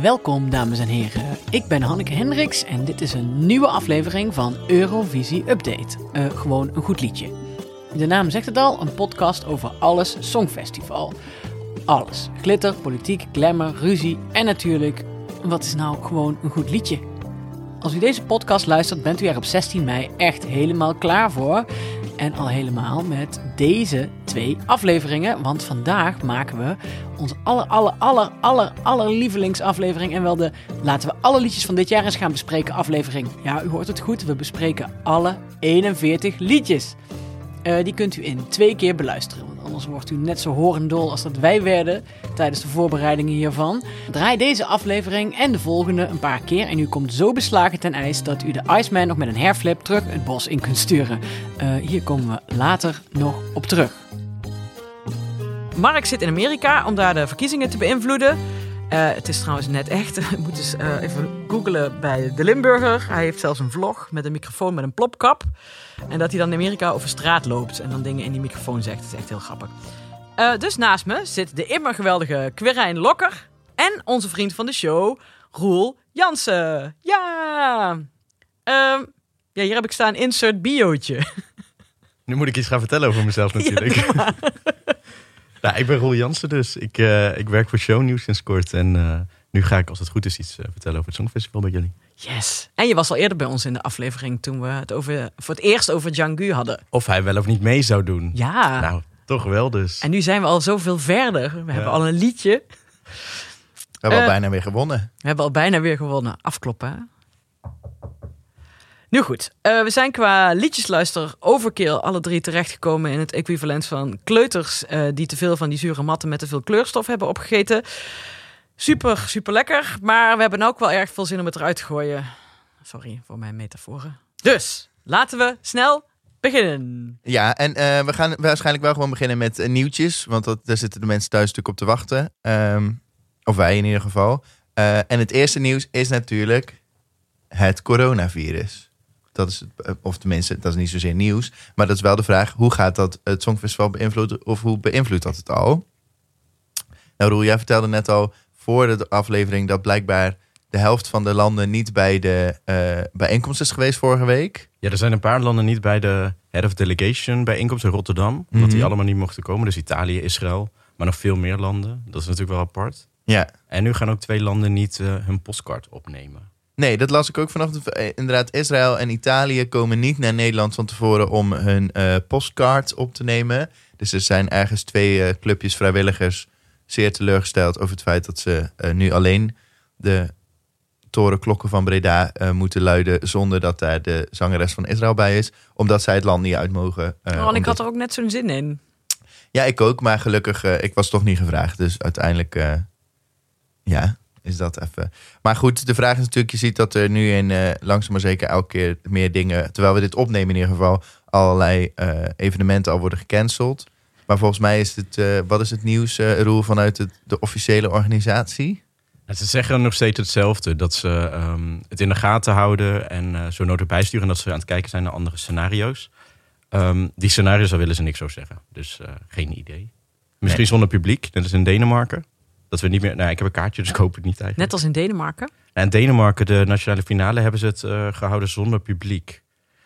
Welkom dames en heren, ik ben Hanneke Hendricks en dit is een nieuwe aflevering van Eurovisie Update. Eh, gewoon een goed liedje. De naam zegt het al, een podcast over alles Songfestival. Alles. Glitter, politiek, glamour, ruzie en natuurlijk, wat is nou gewoon een goed liedje? Als u deze podcast luistert, bent u er op 16 mei echt helemaal klaar voor. En al helemaal met deze twee afleveringen. Want vandaag maken we onze aller, aller, aller, aller, aller lievelingsaflevering. En wel de laten we alle liedjes van dit jaar eens gaan bespreken aflevering. Ja, u hoort het goed. We bespreken alle 41 liedjes. Eh, die kunt u in twee keer beluisteren. Want anders wordt u net zo horendol als dat wij werden tijdens de voorbereidingen hiervan. Draai deze aflevering en de volgende een paar keer. En u komt zo beslagen ten ijs dat u de Iceman nog met een hairflip terug het bos in kunt sturen. Eh, hier komen we later nog op terug. Mark zit in Amerika om daar de verkiezingen te beïnvloeden. Eh, het is trouwens net echt. Ik moet dus, eens eh, even googlen bij de Limburger. Hij heeft zelfs een vlog met een microfoon met een plopkap. En dat hij dan in Amerika over straat loopt en dan dingen in die microfoon zegt. Dat is echt heel grappig. Eh, dus naast me zit de immer geweldige Quirijn Lokker. En onze vriend van de show, Roel Jansen. Ja! Ehm, ja, hier heb ik staan insert biootje. Nu moet ik iets gaan vertellen over mezelf natuurlijk. nou, ik ben Roel Jansen dus. Ik, eh, ik werk voor Shownieuws sinds kort. En eh, nu ga ik, als het goed is, iets eh, vertellen over het Songfestival bij jullie. Yes. En je was al eerder bij ons in de aflevering toen we het over, voor het eerst over Django hadden. Of hij wel of niet mee zou doen. Ja. Nou, toch wel dus. En nu zijn we al zoveel verder. We hebben al een liedje. We hebben Eh, al bijna weer gewonnen. We hebben al bijna weer gewonnen. Afkloppen. hè? Nu goed. Eh, we zijn qua liedjesluister overkill alle drie terechtgekomen in het equivalent van kleuters eh, die te veel van die zure matten met te veel kleurstof hebben opgegeten. Super, super lekker. Maar we hebben ook wel erg veel zin om het eruit te gooien. Sorry voor mijn metaforen. Dus laten we snel beginnen. Ja, en eh, we gaan waarschijnlijk wel gewoon beginnen met eh, nieuwtjes. Want dat, daar zitten de mensen thuis natuurlijk op te wachten. Ehm, of wij in ieder geval. Eh, en het eerste nieuws is natuurlijk het coronavirus. Dat is, het, eh, of tenminste, dat is niet zozeer nieuws. Maar dat is wel de vraag, hoe gaat dat het Songfestival beïnvloeden? Of hoe beïnvloedt dat het al? Nou Roel, jij vertelde net al voor de aflevering... dat blijkbaar de helft van de landen niet bij de eh, bijeenkomst is geweest vorige week. Ja, er zijn een paar landen niet bij de Head of Delegation bijeenkomst in Rotterdam. Omdat die Mhm. allemaal niet mochten komen. Dus Italië, Israël, maar nog veel meer landen. Dat is natuurlijk wel apart. Ja, En nu gaan ook twee landen niet eh, hun postkaart opnemen. Nee, dat las ik ook vanochtend. Eh, Inderdaad, Israël en Italië komen niet naar Nederland van tevoren om hun eh, postkaart op te nemen. Dus er zijn ergens twee eh, clubjes vrijwilligers zeer teleurgesteld over het feit dat ze eh, nu alleen de torenklokken van Breda eh, moeten luiden zonder dat daar de zangeres van Israël bij is, omdat zij het land niet uit mogen. eh, oh, en ik omdat- had er ook net zo'n zin in. Ja, ik ook, maar gelukkig, eh, ik was toch niet gevraagd. Dus uiteindelijk, eh, ja, is dat even. Maar goed, de vraag is natuurlijk, je ziet dat er nu in eh, langzaam maar zeker elke keer meer dingen, terwijl we dit opnemen in ieder geval, allerlei eh, evenementen al worden gecanceld. Maar volgens mij is het, eh, wat is het nieuws, eh Roel, vanuit het, de officiële organisatie? En ze zeggen nog steeds hetzelfde. Dat ze ehm, het in de gaten houden en eh, zo nodig erbij sturen. En dat ze aan het kijken zijn naar andere scenario's. Ehm, die scenario's, daar willen ze niks over zeggen. Dus eh, geen idee. Misschien Nee. zonder publiek. Dat is in Denemarken. Dat we niet meer... Nou, ik heb een kaartje, dus ik hoop het niet eigenlijk. Net als in Denemarken. En in Denemarken, de nationale finale, hebben ze het eh, gehouden zonder publiek.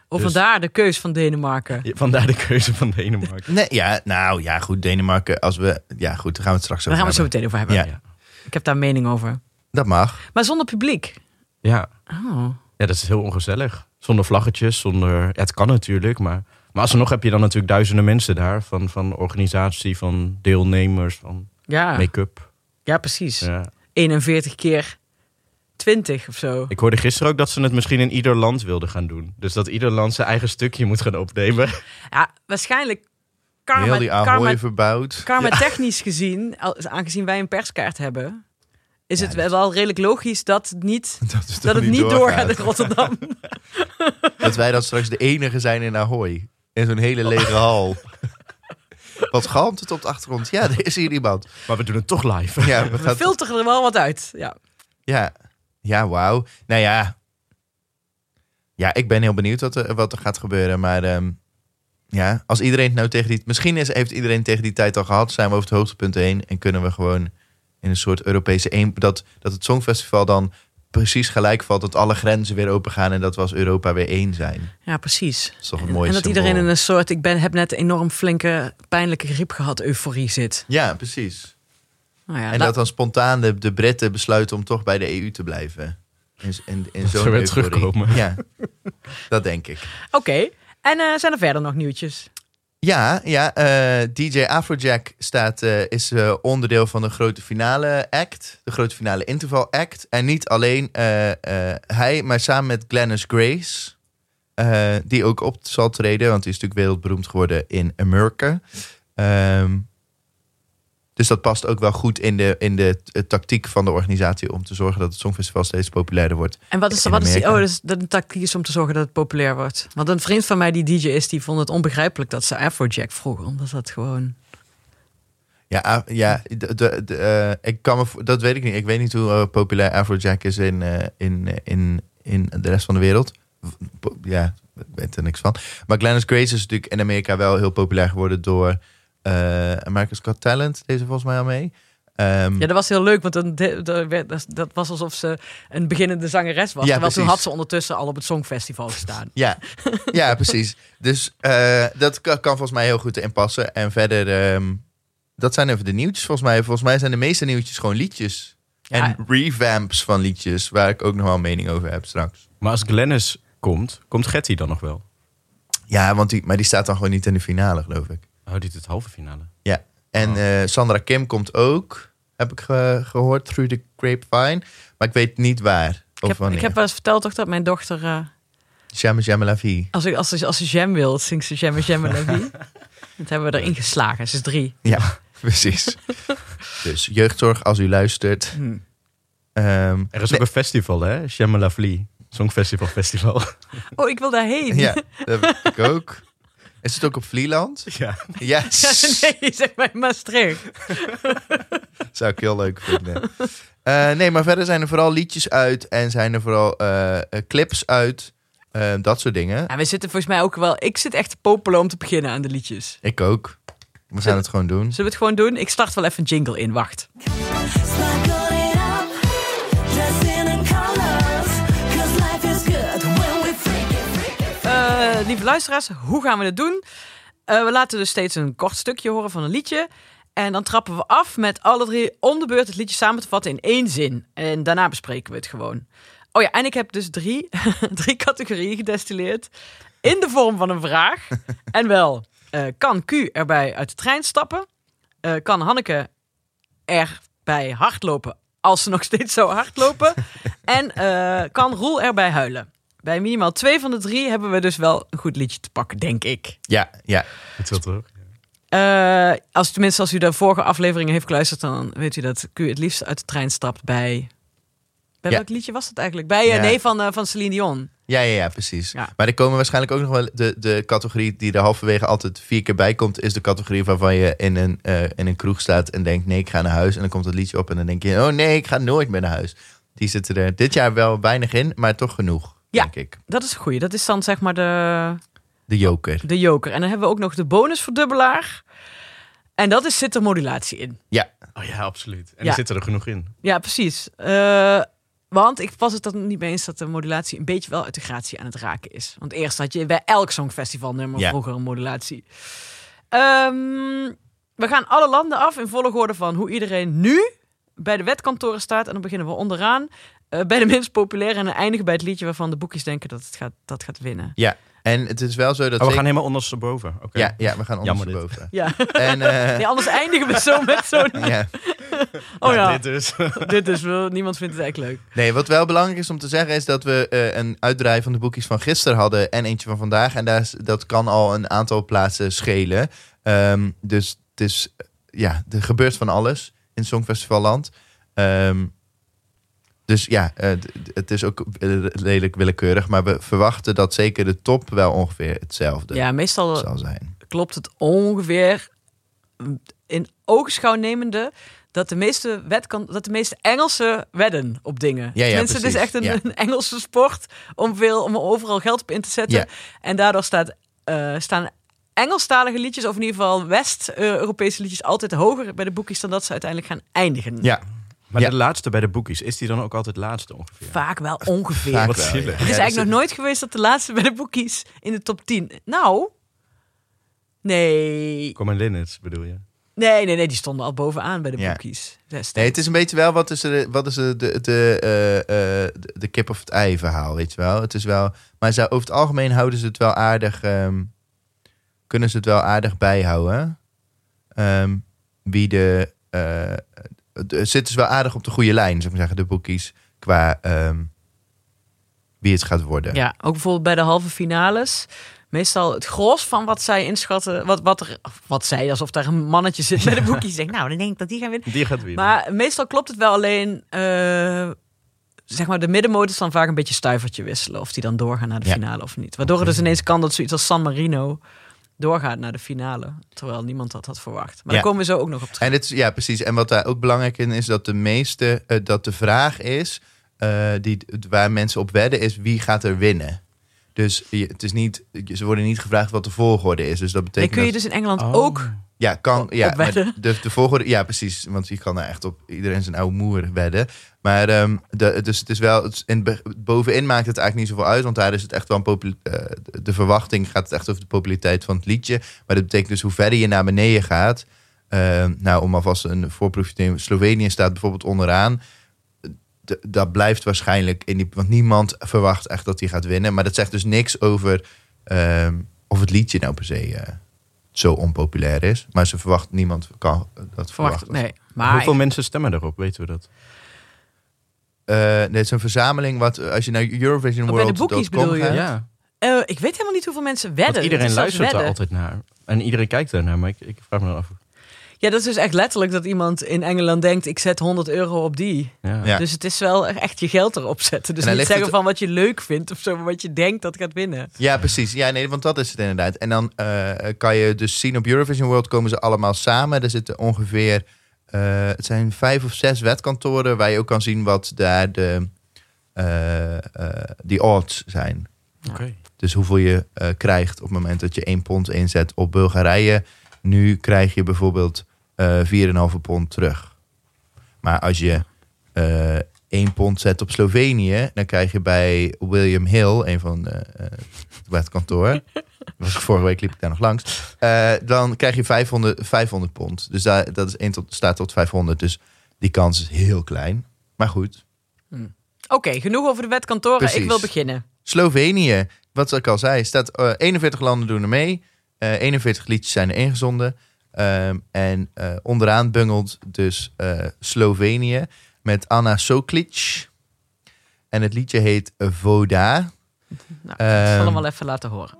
Of Dus- vandaar de keus van Denemarken. Ja, Vandaar de keuze van Denemarken. Nee, ja, nou ja, goed, Denemarken, als we, ja goed, daar gaan we het straks Daar over gaan we het zo hebben. meteen over hebben. Ja. Ik heb daar mening over. Dat mag. Maar zonder publiek. Ja. Oh. ja, dat is heel ongezellig. Zonder vlaggetjes, zonder... ja, het kan natuurlijk, maar... Maar alsnog heb je dan natuurlijk duizenden mensen daar. Van, van organisatie, van deelnemers, van Ja. make-up. ja, precies. Ja. 41 keer 20 of zo. Ik hoorde gisteren ook dat ze het misschien in ieder land wilden gaan doen. Dus dat ieder land zijn eigen stukje moet gaan opnemen. Ja, waarschijnlijk Heel karma, die karma, Ahoy verbouwd. karma technisch gezien, al- aangezien wij een perskaart hebben, is Ja, het dat- wel redelijk logisch dat het niet, Dat, is dat toch het niet doorgaat in Rotterdam. Dat wij dan straks de enige zijn in Ahoy. In zo'n hele lege hal. Wat galmt het op de achtergrond? Ja, er is hier iemand. Maar we doen het toch live. Ja, we We gaan, filteren er wel wat uit. Ja. ja. ja wauw. Nou ja. Ja, ik ben heel benieuwd wat er, wat er gaat gebeuren. Maar ehm, ja, als iedereen het nou tegen die... Misschien is, heeft iedereen tegen die tijd al gehad. Zijn we over het hoogtepunt heen. En kunnen we gewoon in een soort Europese een, dat, dat het Songfestival dan precies gelijk valt dat alle grenzen weer open gaan en dat we als Europa weer één zijn. Ja, precies. Dat is toch een En, mooi en dat symbool. iedereen in een soort, ik ben, heb net een enorm flinke, pijnlijke griep gehad, euforie zit. Ja, precies. Nou ja, En la- dat dan spontaan de, de Britten besluiten om toch bij de EU te blijven. In, z- in, in Dat zo'n ze weer euforie. terugkomen. Ja, dat denk ik. Oké. En eh, zijn er verder nog nieuwtjes? Ja, ja eh, DJ Afrojack staat, eh, is eh, onderdeel van de grote finale act. De grote finale interval act. En niet alleen eh, eh, hij, maar samen met Glennis Grace. eh, die ook op zal treden, want die is natuurlijk wereldberoemd geworden in Amerika. Ehm, dus dat past ook wel goed in de, in de t- tactiek van de organisatie... om te zorgen dat het Songfestival steeds populairder wordt. En wat is, In wat is die, Amerika. oh, dus dat een tactiek is om te zorgen dat het populair wordt. Want een vriend van mij die DJ is, die vond het onbegrijpelijk dat ze Afrojack vroegen. Omdat dat gewoon... Ja, a- ja de, de, de, eh, ik kan me, vo- dat weet ik niet. Ik weet niet hoe eh, populair Afrojack is in, eh, in, eh, in, in de rest van de wereld. W- po- Ja, ik weet er niks van. Maar Glennis Grace is natuurlijk in Amerika wel heel populair geworden door eh America's Got Talent. Deze volgens mij al mee. Ehm, Ja, dat was heel leuk, want dan, de- de- werd- dat- dat was alsof ze een beginnende zangeres was. Ja, terwijl toen precies. had ze ondertussen al op het Songfestival gestaan. Ja, ja precies. Dus eh, dat kan, kan volgens mij heel goed erin passen. En verder, ehm, dat zijn even de nieuwtjes volgens mij. Volgens mij zijn de meeste nieuwtjes gewoon liedjes. En Ja. revamps van liedjes, waar ik ook nog wel een mening over heb straks. Maar als Glennis komt, komt Getty dan nog wel? Ja, want die, maar die staat dan gewoon niet in de finale, geloof ik. Oh, dit is het halve finale. Ja. En eh, Sandra Kim komt ook, heb ik ge- gehoord, through the grapevine. Maar ik weet niet waar. Ik Of heb, wanneer. ik heb wel eens verteld toch dat mijn dochter... eh, Jamme Jamme La Vie. Als, ik, als, ze, als ze jam wil, zingt ze jam en jam en Lavie. Dat hebben we erin geslagen. Ze is drie. Ja, precies. dus jeugdzorg, als u luistert. Hm. Ehm, Er is ook een festival, hè? Shamala Vlie. Songfestival Festival. Oh, ik wil daarheen. Ja, dat heb ik ook. Is het ook op Vlieland? ja. Ja, nee, zeg maar in Maastricht. zou ik heel leuk vinden. Eh, nee, maar verder zijn er vooral liedjes uit en zijn er vooral eh, eh, clips uit. Eh, dat soort dingen. Ja, Nou, we zitten volgens mij ook wel... Ik zit echt te popelen om te beginnen aan de liedjes. Ik ook. We gaan het gewoon doen. Zullen we het gewoon doen? Ik start wel even een jingle in, wacht. Sparkle it up, dress in the colors. Cause life is good when we freak it, freak it. Eh, lieve luisteraars, hoe gaan we het doen? Eh, we laten dus steeds een kort stukje horen van een liedje. En dan trappen we af met alle drie om de beurt het liedje samen te vatten in één zin. En daarna bespreken we het gewoon. Oh ja, en ik heb dus drie, drie categorieën gedestilleerd. In de vorm van een vraag. En wel, eh, kan Q erbij uit de trein stappen? Eh, kan Hanneke erbij hardlopen als ze nog steeds zou hardlopen? En eh, kan Roel erbij huilen? Bij minimaal twee van de drie hebben we dus wel een goed liedje te pakken, denk ik. Ja, ja. Het wil toch? Eh, als, tenminste, als u de vorige afleveringen heeft geluisterd, dan weet u dat Q het liefst uit de trein stapt bij... Bij Ja. welk liedje was dat eigenlijk? Bij, eh, Ja. nee, van, eh, van Celine Dion. Ja, ja, ja, precies. Ja. Maar er komen waarschijnlijk ook nog wel... De, de categorie die er halverwege altijd vier keer bij komt... is de categorie waarvan je in een, eh, in een kroeg staat en denkt... nee, ik ga naar huis. En dan komt dat liedje op en dan denk je... oh nee, ik ga nooit meer naar huis. Die zitten er dit jaar wel weinig in, maar toch genoeg, Ja. denk ik. Dat is een goeie. Dat is dan zeg maar de, De joker. de joker. En dan hebben we ook nog de bonusverdubbelaar. En dat is, zit er modulatie in. Ja, Oh ja, absoluut. En Ja. er zitten er genoeg in. Ja, precies. Eh, want ik was het dan niet mee eens dat de modulatie een beetje wel uit de gratie aan het raken is. Want eerst had je bij elk songfestival nummer Ja. vroeger een modulatie. Ehm, we gaan alle landen af in volgorde van hoe iedereen nu bij de wetkantoren staat. En dan beginnen we onderaan eh, bij de minst populaire en dan eindigen bij het liedje waarvan de boekjes denken dat het gaat, dat gaat winnen. ja. En het is wel zo dat... Oh, we zeker- gaan helemaal ondersteboven. Oké. ja, ja, we gaan Jammer ondersteboven. Ja, En, eh, nee, anders eindigen we zo met zo'n... ja. Oh ja, Nou, Dit is. dit is wel... Niemand vindt het echt leuk. Nee, wat wel belangrijk is om te zeggen... is dat we eh, een uitdraai van de boekjes van gisteren hadden... en eentje van vandaag. En daar, is- dat kan al een aantal plaatsen schelen. Ehm, dus het is... eh, Ja, er gebeurt van alles in Songfestivalland. Ehm dus ja, eh, d- d- het is ook eh, redelijk willekeurig. Maar we verwachten dat zeker de top wel ongeveer hetzelfde Ja, meestal zal zijn. klopt het ongeveer in oogschouw nemende dat de meeste, wet kan, dat de meeste Engelsen wedden op dingen. ja, Tenminste, het is precies, echt een, ja. een Engelse sport om, veel, om er overal geld op in te zetten. Ja. En daardoor staat, eh, staan Engelstalige liedjes, of in ieder geval West-Europese liedjes, altijd hoger bij de boekies dan dat ze uiteindelijk gaan eindigen. Ja, Maar Ja. de laatste bij de boekies, is die dan ook altijd laatste ongeveer? Vaak wel ongeveer. vaak Wat wel, zielig. ja. Het Het is Ja, eigenlijk nog nooit geweest dat de laatste bij de boekies in de top 10. Nou. Nee. Common Linnets bedoel je? Nee, nee, nee. Die stonden al bovenaan bij de Ja. boekies. destijds. Nee, het is een beetje wel wat is, er, wat is de, de, de, eh, eh, de- de kip of het ei verhaal, weet je wel. Het is wel maar ze, over het algemeen houden ze het wel aardig, ehm, kunnen ze het wel aardig bijhouden. Ehm, wie de, eh, de- zitten ze dus wel aardig op de goede lijn, zou ik maar zeggen, de boekies, qua ehm, wie het gaat worden. Ja, ook bijvoorbeeld bij de halve finales. Meestal het gros van wat zij inschatten, wat, wat, er, of wat zij, alsof daar een mannetje zit bij de boekies. Zegt, nou, dan denk ik dat die gaan winnen. Die gaat winnen. Maar meestal klopt het wel alleen, eh, zeg maar, de middenmotors dan vaak een beetje stuivertje wisselen. Of die dan doorgaan naar de Ja. finale of niet. Waardoor het dus ineens kan dat zoiets als San Marino doorgaat naar de finale. Terwijl niemand dat had verwacht. Maar Ja. daar komen we zo ook nog op terug. En het, is- ja, precies. En wat daar ook belangrijk in is, dat de meeste, eh, dat de vraag is, eh, die, waar mensen op wedden, is wie gaat er winnen. Dus je- het is niet, ze worden niet gevraagd wat de volgorde is. Dus dat Nee, betekent. kun je dat- dus in Engeland Oh. ook. ja, kan, op- ja, op wedden? maar De, de volgorde, ja, precies. Want je kan nou echt op iedereen zijn oude moer wedden. Maar ehm, de, dus het is wel, het is in, be- bovenin maakt het eigenlijk niet zoveel uit. Want daar is het echt wel een popul- eh, de- de verwachting gaat het echt over de populariteit van het liedje. Maar dat betekent dus hoe verder je naar beneden gaat. eh, nou, om alvast een voorproefje te nemen. Slovenië staat bijvoorbeeld onderaan. D- dat blijft waarschijnlijk in die. Want niemand verwacht echt dat hij gaat winnen. Maar dat zegt dus niks over ehm, of het liedje nou per se eh, zo onpopulair is. Maar ze verwacht niemand kan dat Verwacht, verwachten. nee. Maar Hoeveel mensen stemmen erop, weten we dat? Eh, nee, het is een verzameling wat eh, als je naar Eurovision Oh, bij de boekies bedoel World je? gaat. Ja. eh, ik weet helemaal niet hoeveel mensen wedden. Want iedereen Het is zelfs luistert daar wedden. altijd naar. En iedereen kijkt daarnaar, maar ik, ik vraag me dan af. Ja, dat is dus echt letterlijk dat iemand in Engeland denkt: ik zet 100 euro op die. Ja. Ja. Dus het is wel echt je geld erop zetten. Dus En dan niet ligt zeggen het- van wat je leuk vindt of zo, maar wat je denkt dat gaat winnen. Ja, precies. Ja, nee, want dat is het inderdaad. En dan eh, kan je dus zien op Eurovision World komen ze allemaal samen. Er zitten ongeveer, eh, het zijn vijf of zes wetkantoren waar je ook kan zien wat daar de eh, eh, die odds zijn. Oké. Dus hoeveel je eh, krijgt op het moment dat je één pond inzet op Bulgarije. Nu krijg je bijvoorbeeld eh 4,5 pond terug. Maar als je eh 1 pond zet op Slovenië, dan krijg je bij William Hill, een van de, eh, het kantoor. Was ik vorige week liep ik daar nog langs. eh, dan krijg je 500, 500 pond. Dus daar, dat is 1 tot, staat tot 500. Dus die kans is heel klein. Maar goed. Oké, genoeg over de wetkantoren. Ik Precies. wil beginnen. Slovenië, wat ik al zei, staat eh, 41 landen doen er mee. Eh, 41 liedjes zijn er ingezonden. Ehm, en eh, onderaan bungelt dus eh, Slovenië met Anna Soklic. En het liedje heet Voda. Nou, ik zal hem Ehm. wel even laten horen.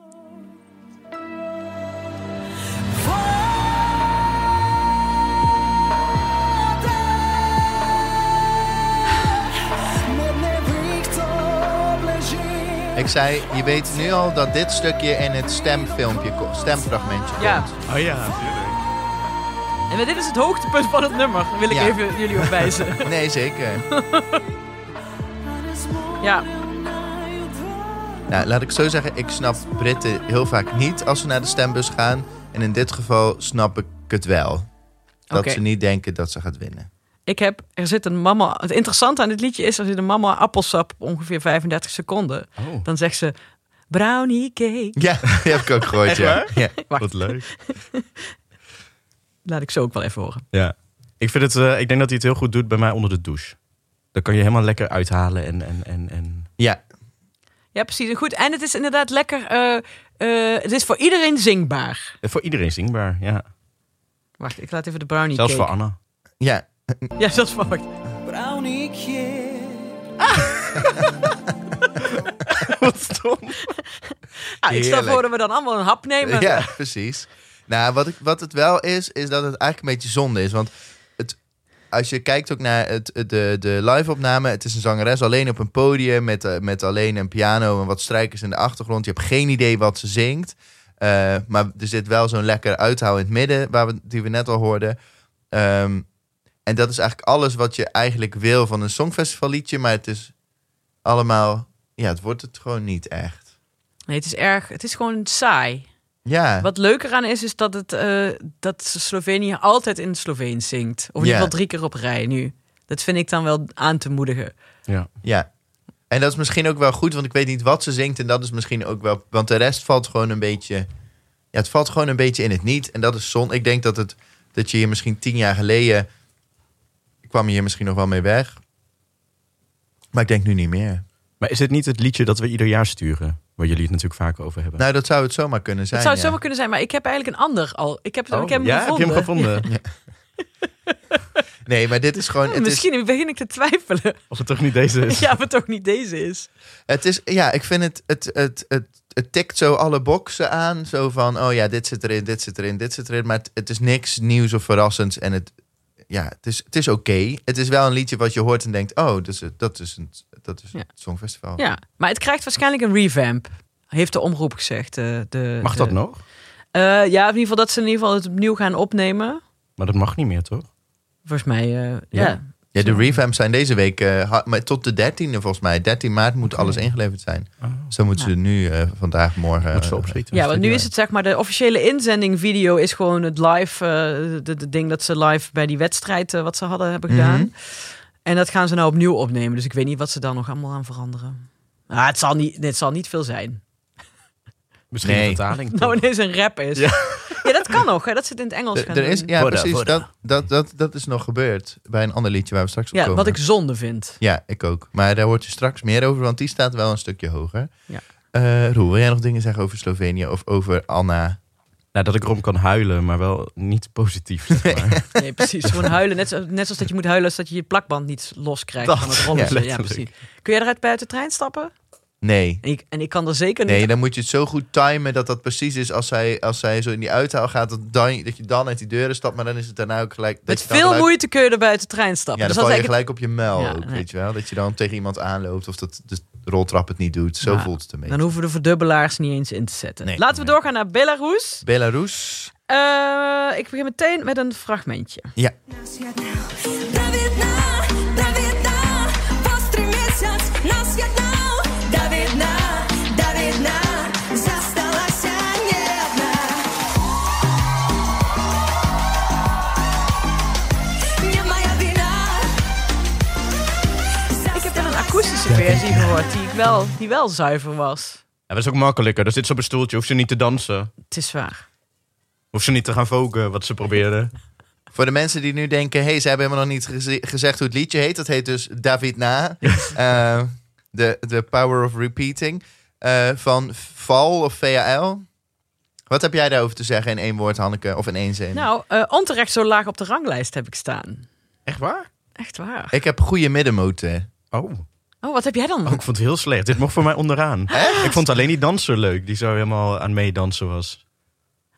Ik zei, je weet nu al dat dit stukje in het stemfilmpje, ko- stemfragmentje komt. Ja, Oh ja, natuurlijk. en dit is het hoogtepunt van het nummer. Daar wil ik Ja. even jullie op wijzen. Nee, zeker. ja, Nou, laat ik zo zeggen, ik snap Britten heel vaak niet als ze naar de stembus gaan. En in dit geval snap ik het wel. Dat Oké. ze niet denken dat ze gaat winnen. ik heb, er zit een mama... Het interessante aan dit liedje is, er zit een mama appelsap op ongeveer 35 seconden. Oh. Dan zegt ze, brownie cake. Ja, die heb ik ook gehoord, Echt ja. waar? ja. Wacht. Wat leuk. Laat ik zo ook wel even horen. Ja. Ik, vind het, eh, ik denk dat hij het heel goed doet bij mij onder de douche. Dan kan je helemaal lekker uithalen en... en, en, en... Ja, Ja, precies. En Goed, en het is inderdaad lekker... eh, eh, het is voor iedereen zingbaar. Eh, Voor iedereen zingbaar, ja. Wacht, ik laat even de brownie Zelfs cake. voor Anna. ja. Ja, zelfs voor... wacht. Wat stom. Ah, ik stel Heerlijk. voor dat we dan allemaal een hap nemen. ja precies. Nou, wat, ik, wat het wel is, is dat het eigenlijk een beetje zonde is. Want het, als je kijkt ook naar het, de, de live-opname, het is een zangeres alleen op een podium met, eh, met alleen een piano en wat strijkers in de achtergrond. Je hebt geen idee wat ze zingt. Eh, maar er zit wel zo'n lekker uithaal in het midden, waar we, die we net al hoorden. Ehm, en dat is eigenlijk alles wat je eigenlijk wil van een songfestivalliedje. Maar het is allemaal... Ja, het wordt het gewoon niet echt. Nee, het is erg... Het is gewoon saai. Ja. Wat leuker aan is, is dat, het, eh, dat Slovenië altijd in het Sloveens zingt. Of in ieder Ja. geval drie keer op rij nu. Dat vind ik dan wel aan te moedigen. Ja. Ja. En dat is misschien ook wel goed, want ik weet niet wat ze zingt. En dat is misschien ook wel. Want de rest valt gewoon een beetje. Ja, het valt gewoon een beetje in het niet. En dat is zon. Ik denk dat, het, dat je hier misschien tien jaar geleden. kwam je hier misschien nog wel mee weg. Maar ik denk nu niet meer. Maar is dit niet het liedje dat we ieder jaar sturen? Waar jullie het natuurlijk vaak over hebben. Nou, dat zou het zomaar kunnen zijn. Het zou ja. zomaar kunnen zijn, maar ik heb eigenlijk een ander al. Ik heb, ik heb hem Oh, ja, heb je gevonden. hem gevonden? Nee, maar dit is gewoon. Het is, Misschien begin ik te twijfelen. Als het toch niet deze is? Ja, of het ook niet deze is. het is ja, ik vind het. Het, het, het, het tikt zo alle boxen aan. Zo van: oh ja, dit zit erin, dit zit erin, dit zit erin. Maar het, het is niks nieuws of verrassends. En het, ja, het is, het is oké. Het is wel een liedje wat je hoort en denkt: oh, dat is, het- dat is, een, dat is Ja. het Songfestival. Ja, maar het krijgt waarschijnlijk een revamp. Heeft de omroep gezegd. eh, De, Mag de- dat nog? Eh, ja, in ieder geval dat ze in ieder geval het opnieuw gaan opnemen. Maar dat mag niet meer, toch? Volgens mij, eh, ja. Ja, de revamps zijn deze week eh, ha- maar tot de 13e volgens mij. 13 maart moet alles ingeleverd zijn. Zo moeten ze nu eh, vandaag, morgen. eh, Moet Oh. ze opschieten. Ja, want nu is het zeg maar de officiële inzending video is gewoon het live, eh, de, de ding dat ze live bij die wedstrijd eh, wat ze hadden hebben gedaan. Mhm. En dat gaan ze nou opnieuw opnemen. Dus ik weet niet wat ze daar nog allemaal aan veranderen. Ah, het, zal niet, het zal niet veel zijn. Misschien Nee. een vertaling. toch? Nou, ineens een rap is. Ja, dat kan nog. Hè? Dat ze het in het Engels Er, gaan er is, doen. ja, Voda, precies. voda. Dat, dat, dat, dat is nog gebeurd bij een ander liedje waar we straks op Ja, komen. wat ik zonde vind. Ja, ik ook. Maar daar hoort je straks meer over, want die staat wel een stukje hoger. Ja. Eh, Roel, wil jij nog dingen zeggen over Slovenië of over Anna? Nou, dat ik erom kan huilen, maar wel niet positief. Zeg maar. Nee, precies. Gewoon huilen. Net, zo- net zoals dat je moet huilen als dat je je plakband niet los krijgt Dat, van het rollen. Ja, ja, letterlijk. precies. Kun jij eruit buiten de trein stappen? Nee. En ik, en ik kan er zeker niet Nee, dan moet je het zo goed timen dat dat precies is als zij, als zij zo in die uithaal gaat, dat, dan, dat je dan uit die deuren stapt, maar dan is het daarna ook gelijk... dat Met je dan veel gelijk- moeite kun je er buiten de trein stappen. Ja, dan Dus dat val je is eigenlijk- gelijk op je muil Ja, ook, nee. weet je wel. Dat je dan tegen iemand aanloopt of dat de roltrap het niet doet. Zo Maar voelt het een beetje. Dan hoeven we de verdubbelaars niet eens in te zetten. Nee. Laten we Nee. doorgaan naar Belarus. Belarus. Eh, ik begin meteen met een fragmentje. Ja. Нас єдна, Давідна, Давідна, вострий місяць, нас єднав, Давідна, Давідна, засталася не одна. Не моя вина. Ik heb dan een akoestische versie gehoord die, ik wel, die wel zuiver was. Ja, dat is ook makkelijker. Dan zit ze op een stoeltje, hoeft ze niet te dansen. Het is waar. Hoeft ze niet te gaan voken, wat ze probeerde. Voor de mensen die nu denken, hey, ze hebben helemaal nog niet geze- gezegd hoe het liedje heet. Dat heet dus David Na. Eh, de, de Power of Repeating. eh, van Val of VAL. Wat heb jij daarover te zeggen in één woord, Hanneke? Of in één zin? Nou, eh, onterecht zo laag op de ranglijst heb ik staan. Echt waar? Echt waar. Ik heb goede middenmoten. Oh. Oh, wat heb jij dan? oh, ik vond het heel slecht. Dit mocht voor mij onderaan. Ik vond alleen die danser leuk, die zo helemaal aan meedansen was.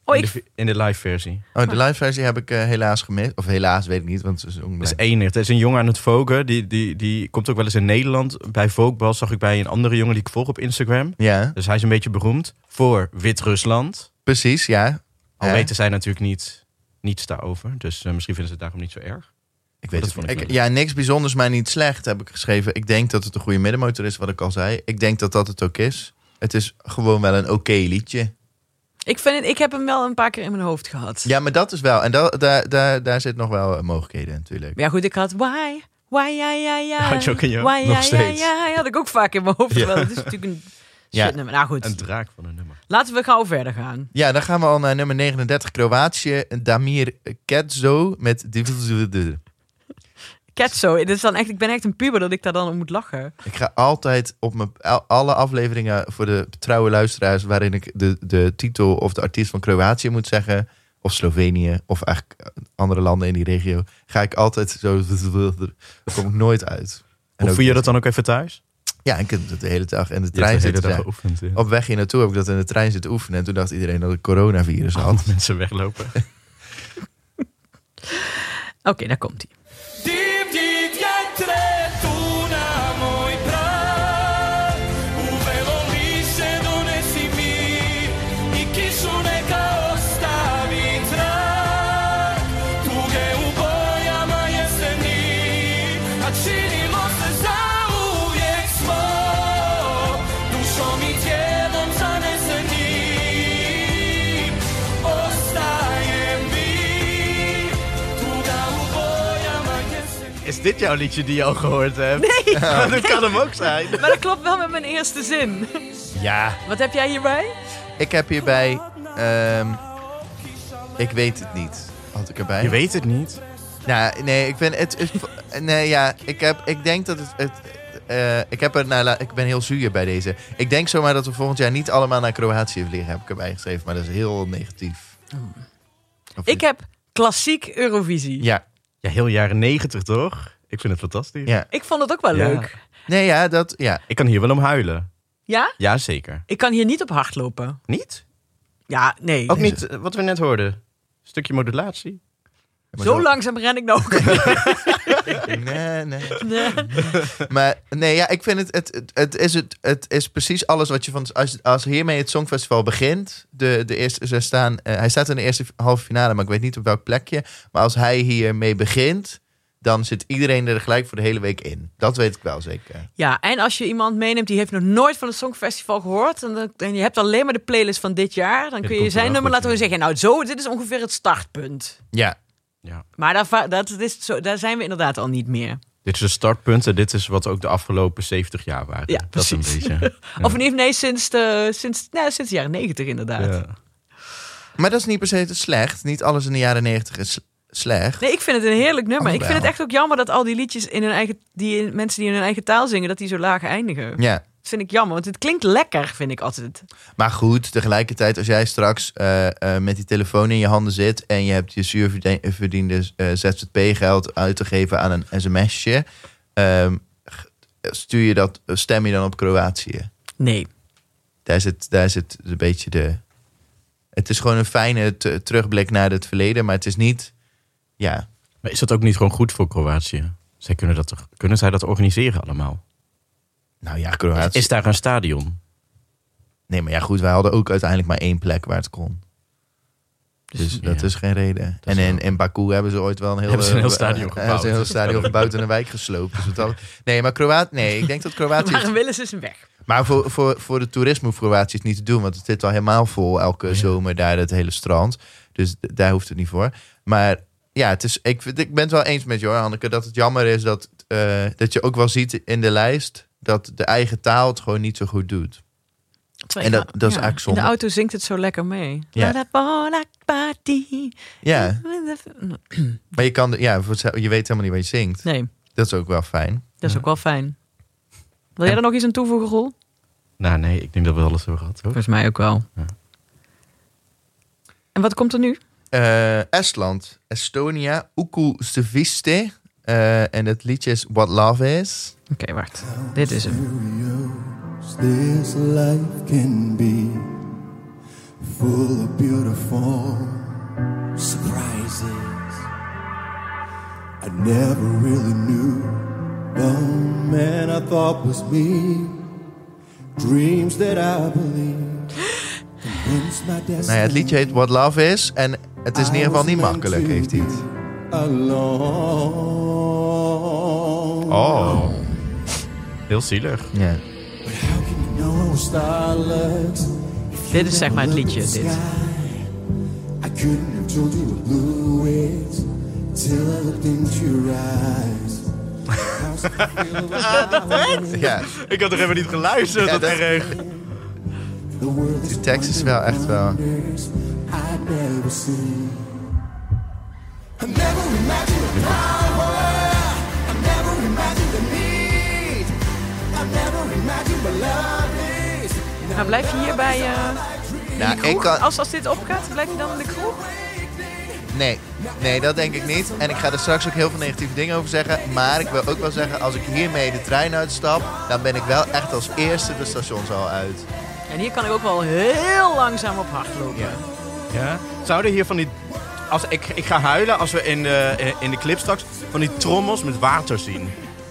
Oh, in, ik, de, in de live versie. Oh, de live versie heb ik eh, helaas gemist. Of helaas, weet ik niet, want ze zongen Dat is bij- enig. Er is een jongen aan het voken, die, die, die komt ook wel eens in Nederland. Bij Volkbal zag ik bij een andere jongen die ik volg op Instagram. Ja, Dus hij is een beetje beroemd voor Wit-Rusland. precies, ja. Al Ja. weten zij natuurlijk niet, niets daarover. Dus eh, misschien vinden ze het daarom niet zo erg. Ik weet Dat het vond niet. ik Ik- leuk. ja, niks bijzonders, maar niet slecht, heb ik geschreven. Ik denk dat het een goede middenmotor is, wat ik al zei. Ik denk dat dat het ook is. Het is gewoon wel een oké liedje. ik, vind het, ik heb hem wel een paar keer in mijn hoofd gehad. Ja, maar dat is wel. En da- daar, daar, daar zit nog wel eh, mogelijkheden natuurlijk. Maar ja, goed, ik had why, why, ja, ja, ja. Had je ook in je- why, nog ja, steeds. Ja, ja, had ik ook vaak in mijn hoofd. Ja. Wel, het is natuurlijk een Ja. shitnummer. Nou goed, Een draak van een nummer. laten we gauw verder gaan. Ja, dan gaan we al naar nummer 39, Kroatië. Damir Ketzo met... Ketso, dit is dan echt, ik ben echt een puber dat ik daar dan om moet lachen. Ik ga altijd op mijn, al- alle afleveringen voor de trouwe luisteraars... waarin ik de, de titel of de artiest van Kroatië moet zeggen... of Slovenië of eigenlijk andere landen in die regio... ga ik altijd zo... kom ik nooit uit. En Hoe ook- voel je dat dan ook even thuis? Ja, ik heb het de hele dag en de trein zitten. daar ja. geoefend. Ja. Op weg hier naartoe heb ik dat in de trein zitten oefenen... en toen dacht iedereen dat ik coronavirus had. Allemaal mensen weglopen. Oké, daar komt hij. Divlji vjetre tu na moj prag U velom više donesi mir I kišu neka ostavi trag Tuge u bojama jeseni A činimo se zauvijek smo Dušom i tijelom zaneseni is dit jouw liedje die je al gehoord hebt? Nee. dat kan hem ook zijn. Maar dat klopt wel met mijn eerste zin. Ja. Wat heb jij hierbij? Ik heb hierbij... ehm, ik weet het niet. Had ik erbij. Je weet het niet. Nou, nee, ik ben... Het, het- nee, ja. Ik, heb, ik denk dat het... het eh, ik, heb er, nou, la- ik ben heel zuur bij deze. Ik denk zomaar dat we volgend jaar niet allemaal naar Kroatië vliegen. Heb ik erbij geschreven. Maar dat is heel negatief. Of Oh. Ik heb klassiek Eurovisie. Ja. Ja, heel jaren negentig toch? Ik vind het fantastisch. Ja. Ik vond het ook wel Ja. leuk. Nee, ja, dat... Ja. Ik kan hier wel om huilen. Ja? Jazeker. Ik kan hier niet op hardlopen. Niet? Ja, nee. Ook niet eh, wat we net hoorden. Stukje modulatie. Maar Zo langzaam ren ik nou ook. Nee, nee. Nee. Maar nee, ja, ik vind het. Het, het, het is, het, het is precies alles wat je van. Als, als hiermee het Songfestival begint. De, de eerste, ze staan, eh, hij staat in de eerste halve finale, maar ik weet niet op welk plekje. Maar als hij hiermee begint. Dan zit iedereen er gelijk voor de hele week in. Dat weet ik wel zeker. Ja, en als je iemand meeneemt die heeft nog nooit van het Songfestival gehoord... en, dat- en je hebt alleen maar de playlist van dit jaar... dan kun komt je er zijn wel nummer goed laten horen en zeggen... nou, zo, dit is ongeveer het startpunt. Ja. Ja. Maar daar, va- dat is zo, daar zijn we inderdaad al niet meer. Dit is een startpunt en dit is wat ook de afgelopen 70 jaar waren. Ja, Dat is een precies. beetje. Of nee, nee sinds, de, sinds, nou, sinds de jaren negentig inderdaad. Ja. Maar dat is niet per se slecht. Niet alles in de jaren negentig is slecht. Nee, ik vind het een heerlijk nummer. Oh, Ik vind wel. het echt ook jammer dat al die liedjes in hun eigen, die in- mensen die in hun eigen taal zingen, dat die zo laag eindigen. Ja. Dat vind ik jammer, want het klinkt lekker, vind ik altijd. Maar goed, tegelijkertijd als jij straks eh, eh, met die telefoon in je handen zit... en je hebt je zuurverdiende eh, ZZP-geld uit te geven aan een sms'je... ehm, g- stuur je dat, stem je dan op Kroatië. Nee. Daar zit, daar zit een beetje de... Het is gewoon een fijne te- terugblik naar het verleden, maar het is niet... Ja, Maar is dat ook niet gewoon goed voor Kroatië? Zij kunnen, dat toch, kunnen zij dat organiseren allemaal? nou ja, Kroatië... Is daar een stadion? Nee, maar ja, goed, wij hadden ook uiteindelijk maar één plek waar het kon. Dus dat ja. is geen reden. Dat is en in, wel- in Baku hebben ze ooit wel een heel, Hebben ze een heel eh, stadion eh, gebouwd. hebben ze een heel stadion gebouwd en een wijk gesloopt. Dus wat dat- nee, maar Kroatië. Nee, ik denk dat Kroatië. Maar Willis is weg. Maar voor, voor, voor de toerisme hoeft Kroatië het niet te doen. Want het zit al helemaal vol elke zomer daar, dat hele strand. Dus d- daar hoeft het niet voor. Maar ja, het is, ik, vind- ik ben het wel eens met jou, Hanneke, dat het jammer is dat, eh, dat je ook wel ziet in de lijst dat de eigen taal het gewoon niet zo goed doet. En dat- dat is Ja, eigenlijk In de zonde. auto zingt het zo lekker mee. Ja. La la la party. Ja, maar je, kan, ja, voor hetzelfde- je weet helemaal niet wat je zingt. Nee, Dat is ook wel fijn. dat is ook wel fijn. Wil jij er nog iets aan toevoegen, Roel? Nou nee, ik denk dat we alles hebben gehad. Hoor. Volgens mij ook wel. Ja. En wat komt er nu? Eh, Estland, Estonia, Uku Seviste. Eh, en het liedje is What Love Is. Oké, wacht. Dit is hem. As this life can be full of beautiful surprises. I never really knew the man I thought was me. Dreams that I believe convince my Nou ja, het destiny. liedje heet What Love Is. En het is in ieder geval niet makkelijk, heeft hij het. Alone. Oh. Heel zielig. Ja. How can you know starlight? Dit is zeg maar het liedje, dit. I couldn't have told you what blue is till I looked into your eyes. How's it feel about ja, Ik had er even niet geluisterd. Ja, dat- the world is die tekst is wel echt wel... wonders I never seen. I never imagined the power. I never imagined the need. I never imagined what love is. Nou, blijf je hierbij... eh, Nou, ik kan... Als, als dit opgaat, blijf je dan in de kroeg? Nee, nee, dat denk ik niet. En ik ga er straks ook heel veel negatieve dingen over zeggen. Maar ik wil ook wel zeggen, als ik hiermee de trein uitstap... dan ben ik wel echt als eerste de stationshal uit. En hier kan ik ook wel heel langzaam op hard lopen. Ja. Ja? Zouden hier van die... Als, ik, ik ga huilen Nou, als we in de, in de clip straks van die trommels met water zien.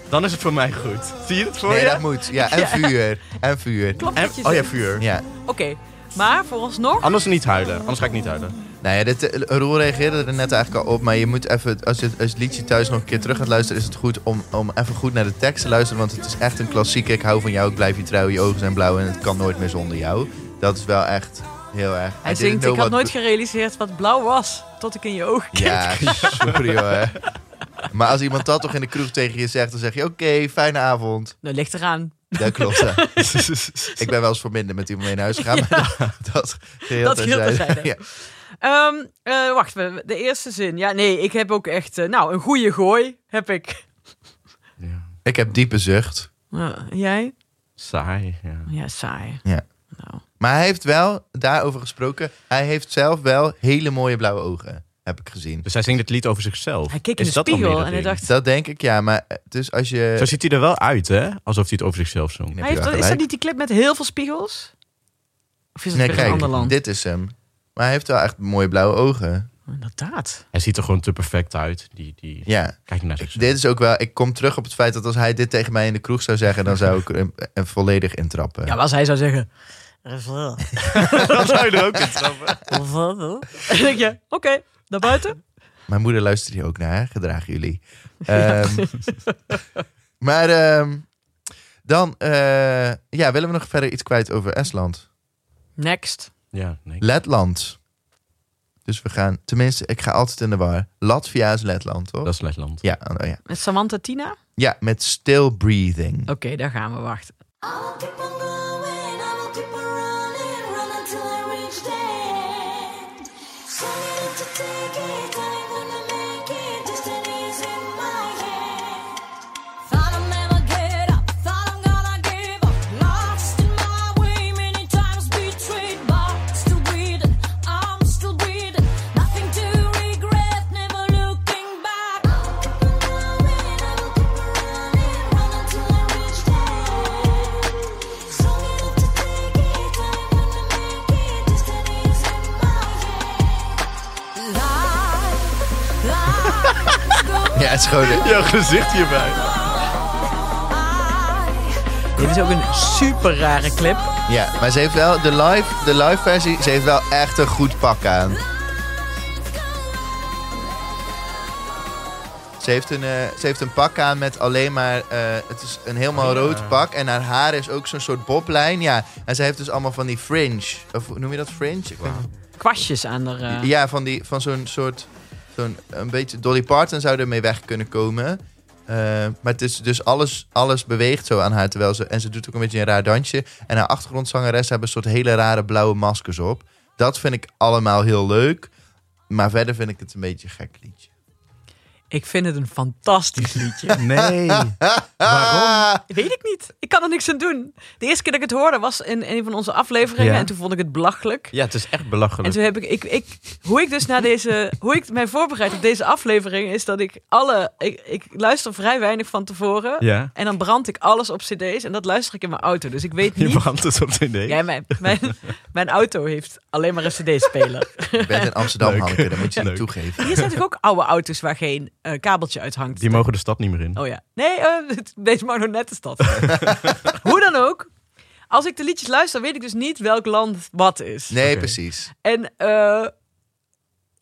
Dan is het voor mij goed. Zie je het voor Nee, je? dat moet. Ja, en vuur. En vuur. Oh Klopt En- dat je oh ja, zegt? vuur. Ja. Ah, Oké, maar vooralsnog... Anders niet huilen. Anders ga ik niet huilen. Nou ja, dit, eh, Roel reageerde er net eigenlijk al op. Maar je moet even, als je, als je het liedje thuis nog een keer terug gaat luisteren, is het goed om, om even goed naar de tekst te luisteren. Want het is echt een klassieke. Ik hou van jou, ik blijf je trouw, je ogen zijn blauw en het kan nooit meer zonder jou. Dat is wel echt heel erg. Hij I didn't zingt, know ik had what- nooit gerealiseerd wat blauw was, tot ik in je ogen keek. Ja, sorry hoor. Maar als iemand dat toch in de kroeg tegen je zegt, dan zeg je oké, fijne avond. Dat ligt eraan. Dat klopt. ja. ik ben wel eens voor minder met iemand mee naar huis gegaan. Maar dat, dat geheel Dat geheel terzijde. terzijde. Ja. Ehm, eh, wacht, we- de eerste zin. Ja, nee, ik heb ook echt... eh, nou, een goede gooi heb ik. Ja. Ik heb diepe zucht. Eh, jij? Saai, ja. Ja, saai. Ja. Nou. Maar hij heeft wel, daarover gesproken, hij heeft zelf wel hele mooie blauwe ogen, heb ik gezien. Dus hij zingt het lied over zichzelf. Hij keek in Is de dat dan spiegel weer en dat hij ding? dacht... Dat denk ik, ja. Maar eh, dus als je... Zo ziet hij er wel uit, hè? Alsof hij het over zichzelf zong. Nee, Hij heeft, wel is dat gelijk. niet die clip met heel veel spiegels? Of is dat Nee, weer een ander kijk, land? dit is hem. Maar hij heeft wel echt mooie blauwe ogen. Inderdaad. Hij ziet er gewoon te perfect uit. Die, die... Ja. Kijk naar Ik- zichzelf. dit is ook wel... Ik kom terug op het feit dat als hij dit tegen mij in de kroeg zou zeggen... dan zou ik hem eh, volledig intrappen. Ja, maar als hij zou zeggen... Dat zou je er ook in trappen. Dan denk je, oké, naar buiten. Mijn moeder luistert hier ook naar, hè? gedragen jullie. Ehm, maar ehm, dan... eh, ja, willen we nog verder iets kwijt over Estland? Next. Ja, nee. Letland. Dus we gaan... Tenminste, ik ga altijd in de war. Latvia is Letland, toch? Dat is Letland. Ja, oh, ja. Met Samantha Tina? Oké, ja, met still breathing. daar gaan we wachten. I will keep on going, I will keep on running, run until I reach the end. Trying to take it, I'm gonna make it, destiny's in my hand. Thought I'd never get up, thought I'm gonna give up. Lost in my way, many times betrayed, but still breathing, I'm still breathing. Nothing to regret, never looking back. I will keep on going, I will keep on running, run until I reach the end. Strong enough to take it, I'm gonna make it, destiny's in my hand. Life, life, go Ja, het is gewoon... Jouw gezicht hierbij. on. Dit is ook een super rare clip. Ja, maar ze heeft wel de live, de live versie. Ze heeft wel echt een goed pak aan. Ze heeft een, eh, ze heeft een pak aan met alleen maar. eh, het is een Oh, helemaal rood pak. En haar haar is ook zo'n soort boblijn. Ja. En ze heeft dus allemaal van die fringe. Of hoe noem je dat fringe? Ik weet niet. Kwastjes aan haar... eh, Ja, van, die, van zo'n soort. Zo'n, een beetje Dolly Parton zou ermee weg kunnen komen. Eh, maar het is dus alles, alles beweegt zo aan haar. Terwijl ze, en ze doet ook een beetje een raar dansje. En haar achtergrondzangeres hebben een soort hele rare blauwe maskers op. Dat vind ik allemaal heel leuk. Maar verder vind ik het een beetje een gek liedje. Ik vind het een fantastisch liedje. Nee. Ah! Waarom? Weet ik niet. Ik kan er niks aan doen. De eerste keer dat ik het hoorde was in een van onze afleveringen. Ja. En toen vond ik het belachelijk. Ja, het is echt En belachelijk. toen heb ik, ik, ik, hoe ik dus naar deze, hoe ik mij voorbereid op deze aflevering is dat ik alle, ik, ik luister vrij weinig van tevoren. Ja. En dan brand ik alles op cd's en dat luister ik in mijn auto. Dus ik weet Je niet. brandt het op de idee. Jij, mijn, mijn, mijn auto heeft alleen maar een cd-speler. Je bent in Amsterdam, Leuk. Hanneke. Dat moet je niet Leuk. toegeven. Hier zijn toch ook oude auto's waar geen eh, kabeltje uit hangt? Die mogen de stad niet meer in. Oh ja. Nee, eh, het- deze mag nog net de stad. Hoe dan ook. Als ik de liedjes luister, weet ik dus niet welk land wat is. Nee, Oké. precies. En eh,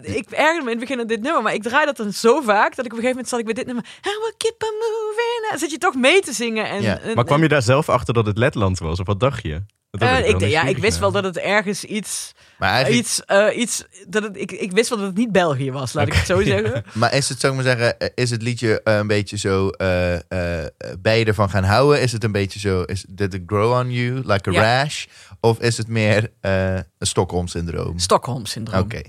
ik ergerde me in het begin aan dit nummer, maar ik draai dat dan zo vaak dat ik op een gegeven moment zat ik bij dit nummer. I will keep on moving. Dan zit je toch mee te zingen. En, Ja, en- Maar kwam je daar zelf achter dat het Letland was? Of wat dacht je? Dat eh, heb wel ik, denk- ja, nieuwsgierig ik wist naar. wel dat het ergens iets. Maar, eigenlijk, iets, eh, iets dat het, ik, ik wist wel dat het niet België was, laat ik het zo zeggen. maar is het, zou ik maar zeggen, eh, is het liedje eh, een beetje zo eh eh, ben je ervan gaan houden? Is het een beetje zo, is, did it grow on you like a Ja. rash? Of is het meer eh een Stockholm-syndroom? Stockholm-syndroom. Oké. Eh,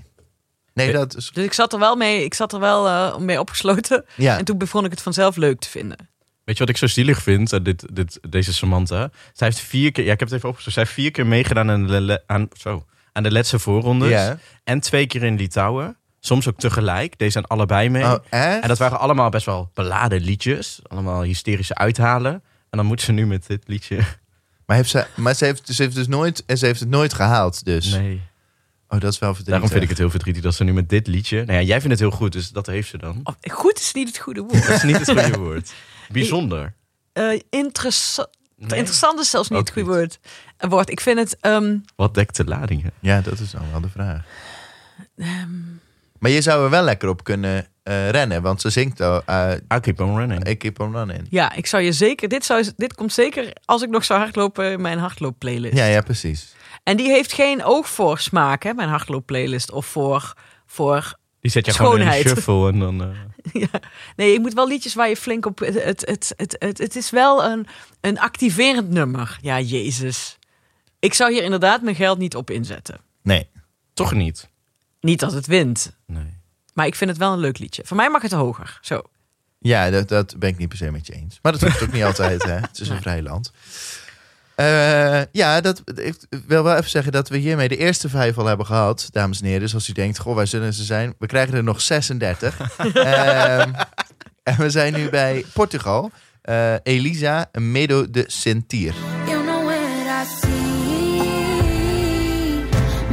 Nee, dat is... Dus ik zat er wel mee, ik zat er wel, eh, mee opgesloten. Ja. En toen begon ik het vanzelf leuk te vinden. Weet je wat ik zo zielig vind aan dit, dit, deze Samantha? Zij heeft vier keer, ja, ik heb het even opgezocht. Zij heeft vier keer meegedaan aan de, le- aan, zo, aan de laatste voorrondes. Ja. En twee keer in Litouwen. Soms ook tegelijk. Deze zijn allebei mee. Oh, echt? En dat waren allemaal best wel beladen liedjes. Allemaal hysterische uithalen. En dan moet ze nu met dit liedje. Maar, heeft ze, maar ze, heeft, ze, heeft dus nooit, en ze heeft het nooit gehaald, dus. Nee. Oh, dat is wel verdrietig. Daarom vind ik het heel verdrietig dat ze nu met dit liedje. Nou ja, jij vindt het heel goed, dus dat heeft ze dan. Oh, goed is niet het goede woord. Dat is niet het goede woord. Bijzonder. Eh, interessa- Nee. Interessant is zelfs niet Ook het goede niet. woord. Eh, woord. Ik vind het. ehm, Wat dekt de ladingen? Ja, dat is dan wel de vraag. Maar je zou er wel lekker op kunnen eh, rennen, want ze zingt al... eh, I keep on running. ik keep on running. ja, ik zou je zeker. Dit, zou, dit komt zeker als ik nog zou hardlopen in mijn hardloopplaylist. Ja, ja, precies. En die heeft geen oog voor smaak, hè, mijn hardloopplaylist. Of voor, voor Die Die zet je gewoon in een Schoonheid. shuffle en dan... eh, Ja. Nee, ik moet wel liedjes waar je flink op. Het, het, het, het, het, het is wel een, een activerend nummer. Ja, Jezus. Ik zou hier inderdaad mijn geld niet op inzetten. Nee. toch niet. Niet dat het wint, Nee. maar ik vind het wel een leuk liedje. Voor mij mag het hoger. Zo. Ja, dat, dat ben ik niet per se met je eens. Maar dat hoeft ook niet altijd, hè? Het is een Nee. vrij land. Eh, ja, dat, ik wil wel even zeggen dat we hiermee de eerste vijf al hebben gehad, dames en heren. Dus als u denkt, goh, waar zullen ze zijn? We krijgen er nog 36. Ehm, en we zijn nu bij Portugal. Eh, Elisa Medo de Sentir. Eu não era assim,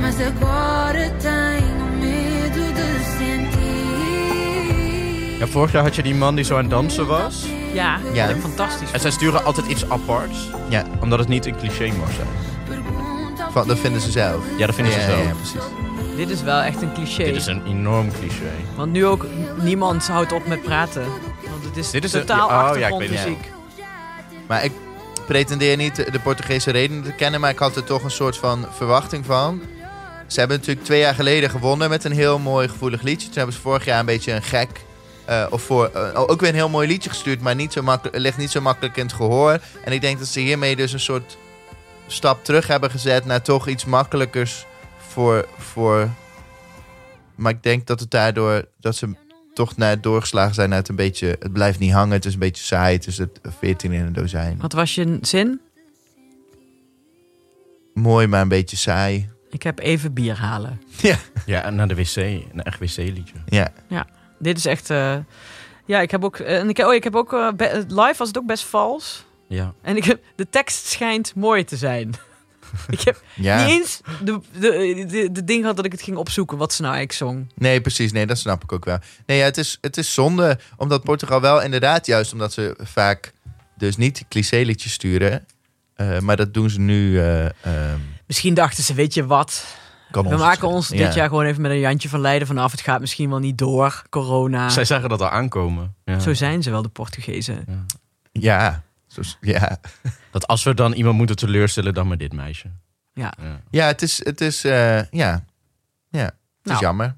mas agora tenho medo de sentir. Ja, vorig jaar had je die man die zo aan het dansen was. Ja, Ja. ja. fantastisch. En zij sturen altijd iets aparts. Ja, Omdat het niet een cliché mag zijn. Pergunta ao van, dat que vinden ze zelf. Ja, dat vinden ze Ja, zelf. Ja, precies. Dit is wel echt een cliché. Dit is een enorm cliché. Want nu ook n- niemand houdt op met praten. Want het is, Dit is een- totaal ja, oh, ja, ik weet het. achtergrondmuziek. eu já tenho. Maar ik pretendeer niet de Portugese reden te kennen, maar ik had er toch een soort van verwachting van. Ze hebben natuurlijk twee jaar geleden gewonnen met een heel mooi gevoelig liedje. Toen hebben ze vorig jaar een beetje een gek, eh, of voor, eh, ook weer een heel mooi liedje gestuurd, maar niet zo makkelijk, ligt niet zo makkelijk in het gehoor. En ik denk dat ze hiermee dus een soort stap terug hebben gezet naar toch iets makkelijkers voor. voor maar ik denk dat het daardoor dat ze toch naar doorgeslagen zijn naar het een beetje. Het blijft niet hangen, het is een beetje saai, het is het 14 in een dozijn. Wat was je zin? mooi, maar een beetje saai. Ik heb even bier halen. Ja, en naar de wc. Een echt wc-liedje. Ja, Dit is echt. eh, ja, ik heb ook. eh, en ik, oh, ik heb ook. eh, be- live was het ook best vals. Ja. En ik heb, de tekst schijnt mooi te zijn. ik heb ja. niet eens de, de, de, de ding gehad dat ik het ging opzoeken wat ze nou eigenlijk zong. Nee, precies. Nee, dat snap ik ook wel. Nee, ja, het, is, het is zonde, omdat Portugal wel inderdaad, juist omdat ze vaak dus niet cliché-liedjes sturen. eh, maar dat doen ze nu. eh, ehm, Misschien dachten ze, weet je wat, kan we ons maken ons schelen. dit Ja. jaar gewoon even met een Jantje van Leiden vanaf. Het gaat misschien wel niet door, corona. Zij zagen dat al aankomen. Ja. Ah. Zo zijn ze wel, de Portugezen. Ja. Zo s- ja. Dat als we dan iemand moeten teleurstellen, dan met dit meisje. Ja. Ja. ja, het is. Het is eh, ja. ja, het Nou. is jammer.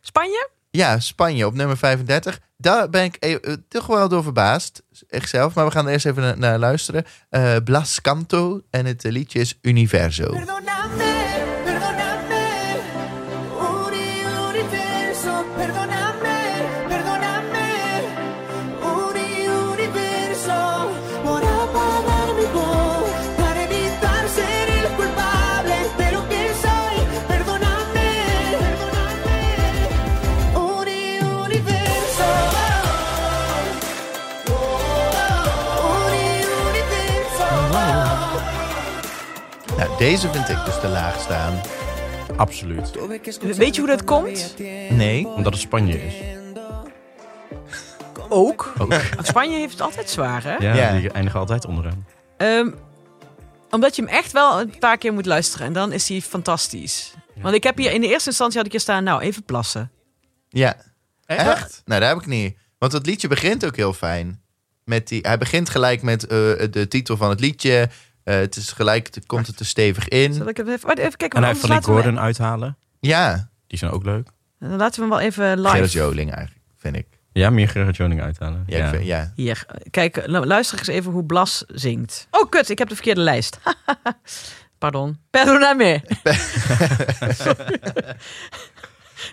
Spanje? Ja, Spanje op nummer 35. Daar ben ik e- eh, toch wel door verbaasd. Echt zelf. Maar we gaan er eerst even na- naar luisteren. Eh, Blas Canto. En het eh, liedje is Universo. Perdóname, perdóname, Uri, universo. Perdóname, perdóname, Uri, universo. Por apagar mi voz, para evitar ser el culpable de lo que soy. Perdóname, perdóname, Uri, universo. Uri, universo. Nou, deze vind ik dus te laag staan. Absoluut. Weet je hoe dat komt? Nee. Omdat het Spanje is. Ook. Ook. Oh, Spanje heeft het altijd zwaar, hè? Ja, Ja. die eindigen altijd onderaan. Ehm, omdat je hem echt wel een paar keer moet luisteren. En dan is hij fantastisch. Want ik heb hier in de eerste instantie had ik hier staan, nou, even plassen. Ja. Echt? Nou, daar heb ik niet. Want het liedje begint ook heel fijn. Met die, hij begint gelijk met eh, de titel van het liedje. Eh, het is gelijk, het komt het er stevig Zal in. ik het even, wacht, even kijken? want Hm. En hij heeft van die anders laten we hem- Gordon uithalen. Ja, Die zijn ook leuk. Dan laten we hem wel even live. Gerrit Joling eigenlijk, vind ik. Ja, meer Gerard Joning uithalen. Ja, Ik vind, ja. Hier, kijk, lu- luister eens even hoe Blas zingt. Oh, kut, ik heb de verkeerde lijst. Pardon. Perdóname.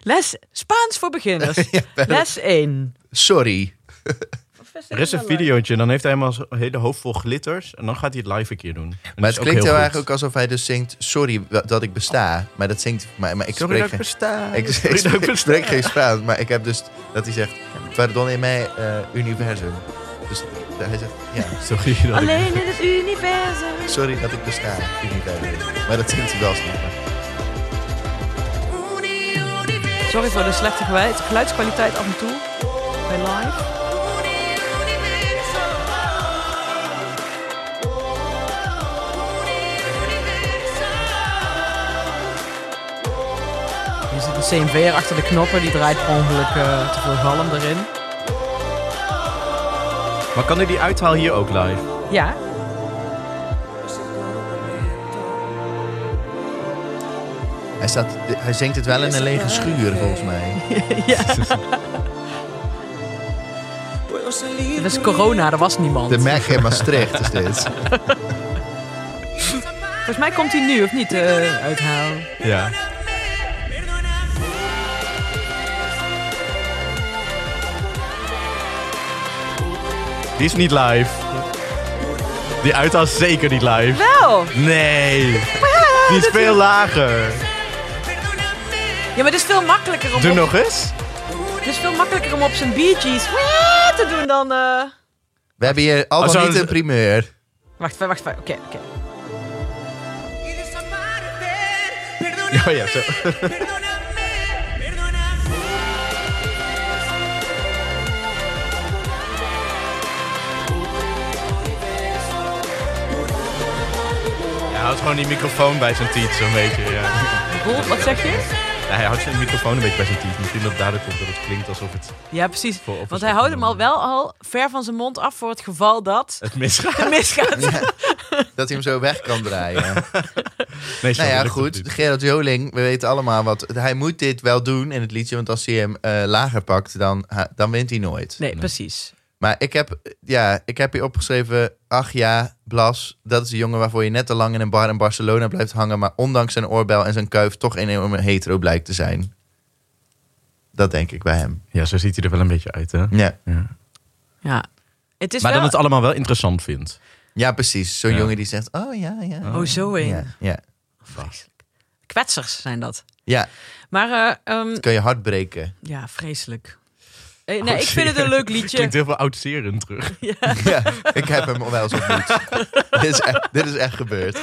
Les Spaans voor beginners. Les 1. Sorry. Er is een videootje, dan heeft hij helemaal zo'n hele hoofd vol glitters. En dan gaat hij het live een keer doen. En dat is Maar het ook klinkt heel heel goed. erg ook alsof hij dus zingt... Sorry wa- dat ik besta. Maar dat zingt... Maar, maar ik Sorry dat spreek, ik geen- besta. ik, Sorry ik dat ik spreek, ik besta. spreek geen Spaans. Maar ik heb dus dat hij zegt... Pardon in mij, eh, universum. Dus hij zegt... Ja. Sorry dat ik... Alleen in het universum. Sorry dat ik besta, universum. Maar dat zingt hij wel snel. Sorry voor de slechte gewei- geluidskwaliteit af en toe. Bij live. Er zit een CMV'er achter de knoppen. Die draait per ongeluk eh, te veel galm erin. Maar kan hij die uithaal hier ook live? Ja. Hij, staat, hij zingt het wel in een lege schuur, volgens mij. Dat is corona, er was niemand. De Mac in Maastricht is dit. Volgens mij komt hij nu, of niet, eh uithaal. Ja. Die is niet live. Die uithaal is zeker niet live. Wel! Nee. Die is veel lager. Ja, maar het is veel makkelijker om, Doe op, nog eens. het is veel makkelijker om op zijn Bee Gees "Wah!" te doen dan... eh, We hebben hier Oh, allemaal zo'n- niet een primeur. Wacht, wacht, wacht. Oké, oké. Oh ja, zo. Hij houdt gewoon die microfoon bij zijn tiet zo'n beetje. Ja. Roel, Wat zeg je? Hij houdt zijn microfoon een beetje bij zijn tiet. Misschien dat daardoor komt dat het klinkt alsof het, Ja, precies. Voor op- Want hij houdt hem al wel al ver van zijn mond af voor het geval dat het misgaat. het misgaat. Dat hij hem zo weg kan draaien. Nee, zo nou ja, lukt het goed. niet. Gerard Joling, we weten allemaal wat. Hij moet dit wel doen in het liedje. Want als hij hem eh, lager pakt, dan, ha- dan wint hij nooit. Nee, precies. Maar ik heb, ja, ik heb hier opgeschreven... Ach ja, Blas, dat is de jongen waarvoor je net te lang in een bar in Barcelona blijft hangen... maar ondanks zijn oorbel en zijn kuif toch een enorme hetero blijkt te zijn. Dat denk ik bij hem. Ja, zo ziet hij er wel een beetje uit, hè? Ja, Ja. Het is Maar wel... dan het allemaal wel interessant vindt. ja precies. Zo'n Ja. jongen die zegt, oh ja, ja. Oh, zo een. Ja, ja. Vreselijk. Kwetsers zijn dat. ja Maar, eh, ehm, kun je hard breken. ja, vreselijk. Eh, nee, ik vind het een leuk liedje. Klinkt heel veel oud-serend terug. Ja, ik heb hem wel eens ontmoet. dit, is echt, dit is echt gebeurd.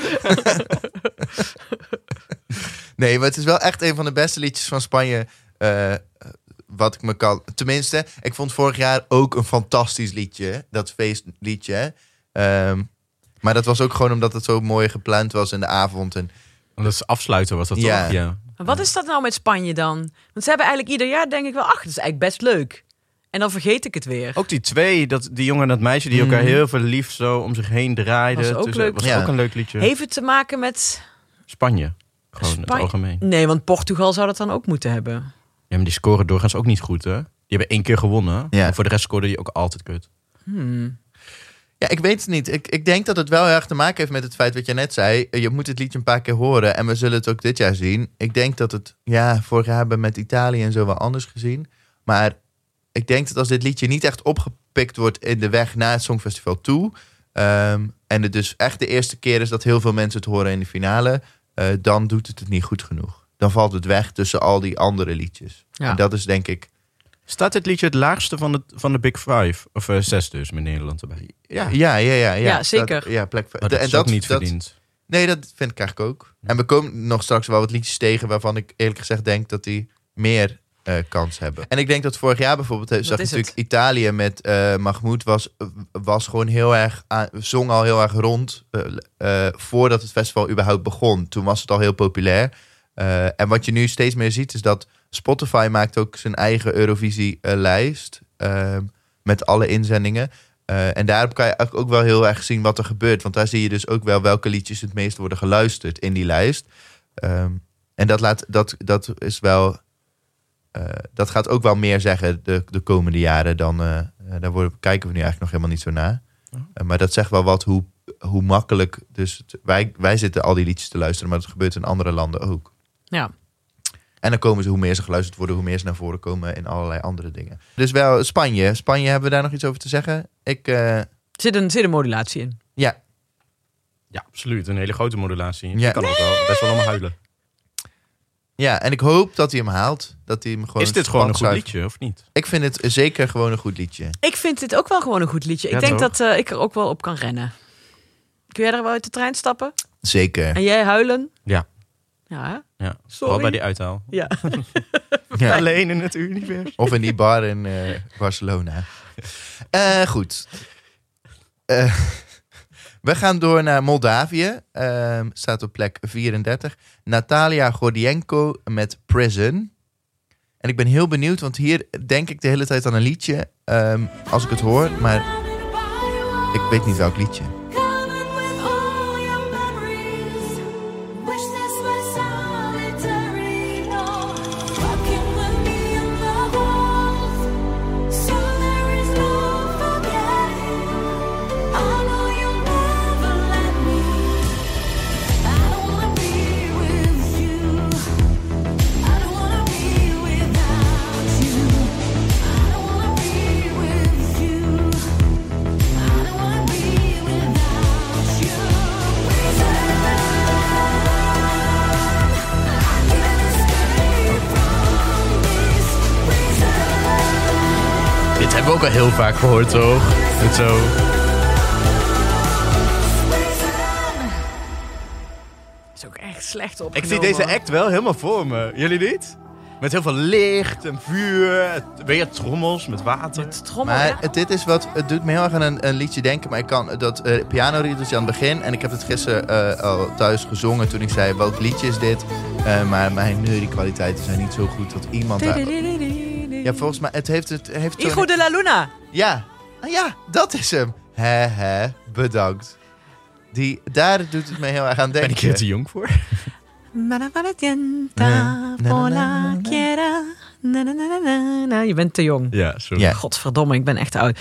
nee, maar het is wel echt een van de beste liedjes van Spanje. eh, wat ik me kan. Tenminste, ik vond vorig jaar ook een fantastisch liedje. Dat feestliedje. Ehm, maar dat was ook gewoon omdat het zo mooi gepland was in de avond. En Dat is afsluiten was dat Ja. toch? Ja. Maar Wat is dat nou met Spanje dan? Want ze hebben eigenlijk ieder jaar denk ik wel, ach, dat is eigenlijk best leuk. En dan vergeet ik het weer. Ook die twee, dat, die jongen en dat meisje, die elkaar heel verliefd zo om zich heen draaiden. Was ook Tussen- leuk. was Ja. ook een leuk liedje. Heeft het te maken met... Spanje, gewoon in Span- het algemeen. Nee, want Portugal zou dat dan ook moeten hebben. Ja, maar die scoren doorgaans ook niet goed, hè? Die hebben één keer gewonnen. Ja. En voor de rest scoorde die ook altijd kut. Ja, ik weet het niet. Ik, ik denk dat het wel heel erg te maken heeft met het feit wat je net zei. Eh, Je moet het liedje een paar keer horen en we zullen het ook dit jaar zien. Ik denk dat het, ja, vorig jaar hebben we met Italië en zo wel anders gezien. Maar ik denk dat als dit liedje niet echt opgepikt wordt in de weg naar het Songfestival toe. ehm, en het dus echt de eerste keer is dat heel veel mensen het horen in de finale. eh, dan doet het het niet goed genoeg. Dan valt het weg tussen al die andere liedjes. Ja. En dat is denk ik, Staat dit liedje het laagste van de, van de Big Five? Of eh, zes dus, met Nederland erbij. ja, ja, ja. Ja, Ja, zeker. Dat- ja, plek, Maar dat en is ook niet verdiend. Nee, dat vind ik eigenlijk ook. Hm. En we komen nog straks wel wat liedjes tegen waarvan ik eerlijk gezegd denk dat die meer eh, kans hebben. En ik denk dat vorig jaar bijvoorbeeld, eh, zag je is natuurlijk het. Italië met eh Mahmoud, was, was gewoon heel erg, aan- zong al heel erg rond eh, eh, voordat het festival überhaupt begon. Toen was het al heel populair. Eh, en wat je nu steeds meer ziet is dat Spotify maakt ook zijn eigen Eurovisie-lijst ehm, met alle inzendingen. Eh, en daarop kan je eigenlijk ook wel heel erg zien wat er gebeurt. Want daar zie je dus ook wel welke liedjes het meest worden geluisterd in die lijst. Ehm, en dat, laat, dat, dat is wel. eh, dat gaat ook wel meer zeggen de, de komende jaren. Dan, eh, eh, daar worden, kijken we nu eigenlijk nog helemaal niet zo naar. Eh, maar dat zegt wel wat hoe, hoe makkelijk. Dus het- wij, wij zitten al die liedjes te luisteren, maar dat gebeurt in andere landen ook. Ja. En dan komen ze, hoe meer ze geluisterd worden, hoe meer ze naar voren komen in allerlei andere dingen. Dus wel Spanje. Spanje, hebben we daar nog iets over te zeggen? Ik, eh, Er zit een, zit een modulatie in. ja, Ja, absoluut. Een hele grote modulatie. Ja. Je kan ook wel best wel allemaal huilen. Ja, en ik hoop dat hij hem haalt. Dat hij hem gewoon Is dit gewoon een goed platzuivert. liedje, of niet? Ik vind het zeker gewoon een goed liedje. Ik vind dit ook wel gewoon een goed liedje. Ik Ja, denk toch? dat eh, ik er ook wel op kan rennen. Kun jij er wel uit de trein stappen? Zeker. En jij huilen? Ja. Ja, hè? Ja, vooral Sorry. bij die uithaal. ja. Ja. Alleen in het universum. Of in die bar in eh, Barcelona. Eh, goed. Eh, we gaan door naar Moldavië. Ehm, staat op plek 34. Natalia Gordienko met Prison. En ik ben heel benieuwd, want hier denk ik de hele tijd aan een liedje. ehm, als ik het hoor, maar ik weet niet welk liedje. Covered with all your memories. Wish this were solitary. wel heel vaak gehoord, toch? Met zo... is ook echt slecht op. Ik zie deze act wel helemaal voor me. Jullie niet? Met heel veel licht en vuur. Weer trommels met water. Trommel, Maar ja. het- dit is wat. Het doet me heel erg aan een, een liedje denken. Maar ik kan dat piano pianoriedeltje aan het begin. En ik heb het gisteren eh, al thuis gezongen. Toen ik zei: welk liedje is dit? Eh, maar mijn neuriekwaliteiten zijn niet zo goed dat iemand daar. Ja, volgens mij. Het heeft het. Heeft zo'n- Hijo de la Luna. Ja. Ah ja, dat is hem. Hè, hè, bedankt. Die, daar doet het me heel erg aan denken. Ben ik hier te jong voor? Nee. Nee, nee, nee, nee, nee. Je bent te jong. Ja, sorry. Ja. Godverdomme, ik ben echt te oud.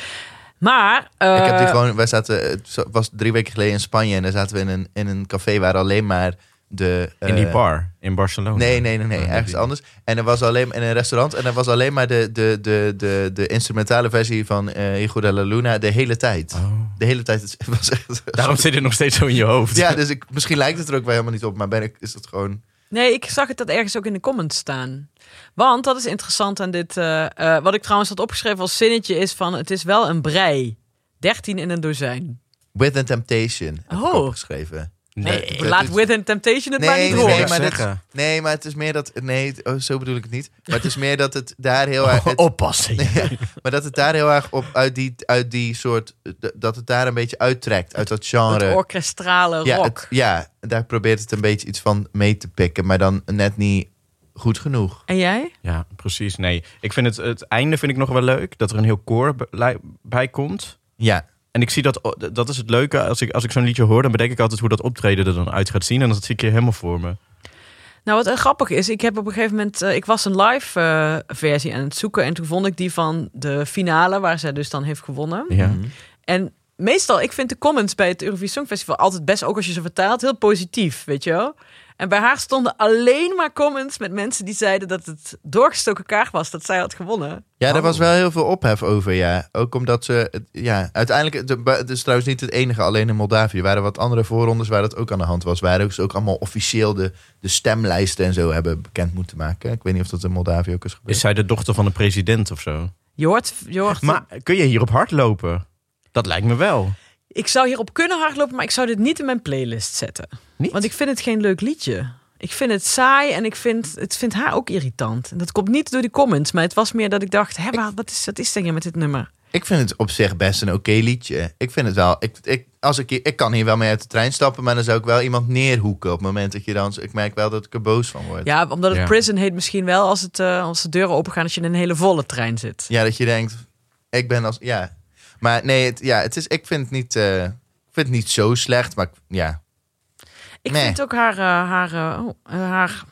Maar, eh, Ik heb die gewoon, wij zaten, het zo- was drie weken geleden in Spanje en daar zaten we in een, in een café waar alleen maar de... eh, In die bar in Barcelona. Nee, nee, nee, nee, Oh, ergens die- anders. En er was alleen in een restaurant en er was alleen maar de, de, de, de, de instrumentale versie van eh Hijo de la Luna de hele tijd. Oh. De hele tijd. Het was echt, Daarom zit het nog steeds zo in je hoofd. Ja, dus ik, misschien lijkt het er ook wel helemaal niet op, maar ben ik, is het gewoon... nee, ik zag het dat ergens ook in de comments staan. Want dat is interessant aan dit. eh, eh, wat ik trouwens had opgeschreven als zinnetje is van: het is wel een brei. 13 in een dozijn. With a Temptation heb ik Oh. opgeschreven. Nee, dat Eh, laat is- With and Temptation het maar niet nee, horen. nee, maar, dat, Zeggen. nee, maar het is meer dat... Nee, het- oh, zo bedoel ik het niet. Maar het is meer dat het daar heel Oh, erg... het- Oppassen. Ja, maar dat het daar heel erg op uit die, uit die soort. d- Dat het daar een beetje uittrekt. Uit dat genre. Het orkestrale ja, rock. het- ja, daar probeert het een beetje iets van mee te pikken. Maar dan net niet goed genoeg. En jij? Ja, precies. Nee, ik vind het, het einde vind ik nog wel leuk. Dat er een heel koor be- li- bij komt. Ja, En ik zie dat, dat is het leuke. Als ik, als ik zo'n liedje hoor, dan bedenk ik altijd hoe dat optreden er dan uit gaat zien. En dat zie ik hier helemaal voor me. Nou, wat eh, grappig is, ik heb op een gegeven moment, eh, ik was een live eh, versie aan het zoeken en toen vond ik die van de finale waar zij dus dan heeft gewonnen. Ja. En meestal, ik vind de comments bij het Eurovisie Songfestival altijd best, ook als je ze vertaalt, heel positief, weet je wel. En bij haar stonden alleen maar comments met mensen die zeiden dat het doorgestoken kaart was dat zij had gewonnen. ja daar was wel heel veel ophef over. Ja. Ook omdat ze. het- Ja, uiteindelijk. het- Het is trouwens niet het enige. Alleen in Moldavië. Er waren wat andere voorrondes waar dat ook aan de hand was. Waar ook ze ook allemaal officieel de, de stemlijsten en zo hebben bekend moeten maken. Ik weet niet of dat in Moldavië ook is gebeurd. Is zij de dochter van de president of zo? Je hoort, je hoort Maar kun je hierop hardlopen? Dat lijkt me wel. ik zou hierop kunnen hardlopen, maar ik zou dit niet in mijn playlist zetten. Niet? Want ik vind het geen leuk liedje. Ik vind het saai en ik vind, het vindt haar ook irritant. En dat komt niet door die comments, maar het was meer dat ik dacht... Hé, waar- wat is, wat is denk je met dit nummer? Ik vind het op zich best een oké liedje. Ik vind het wel. Ik, ik, als ik, hier- ik kan hier wel mee uit de trein stappen, maar dan zou ik wel iemand neerhoeken op het moment dat je dan. Ik merk wel dat ik er boos van word. Ja, Ja, omdat het Ja. Prison heet misschien wel als, het, eh, als de deuren opengaan... als je in een hele volle trein zit. dat je denkt, ik ben als. Ja. Maar nee, het, ja, het is, ik vind het niet. eh, ik vind het niet zo slecht, maar ik- ja. Ik Nee. vind ook haar, eh, haar, eh, oh, eh, haar,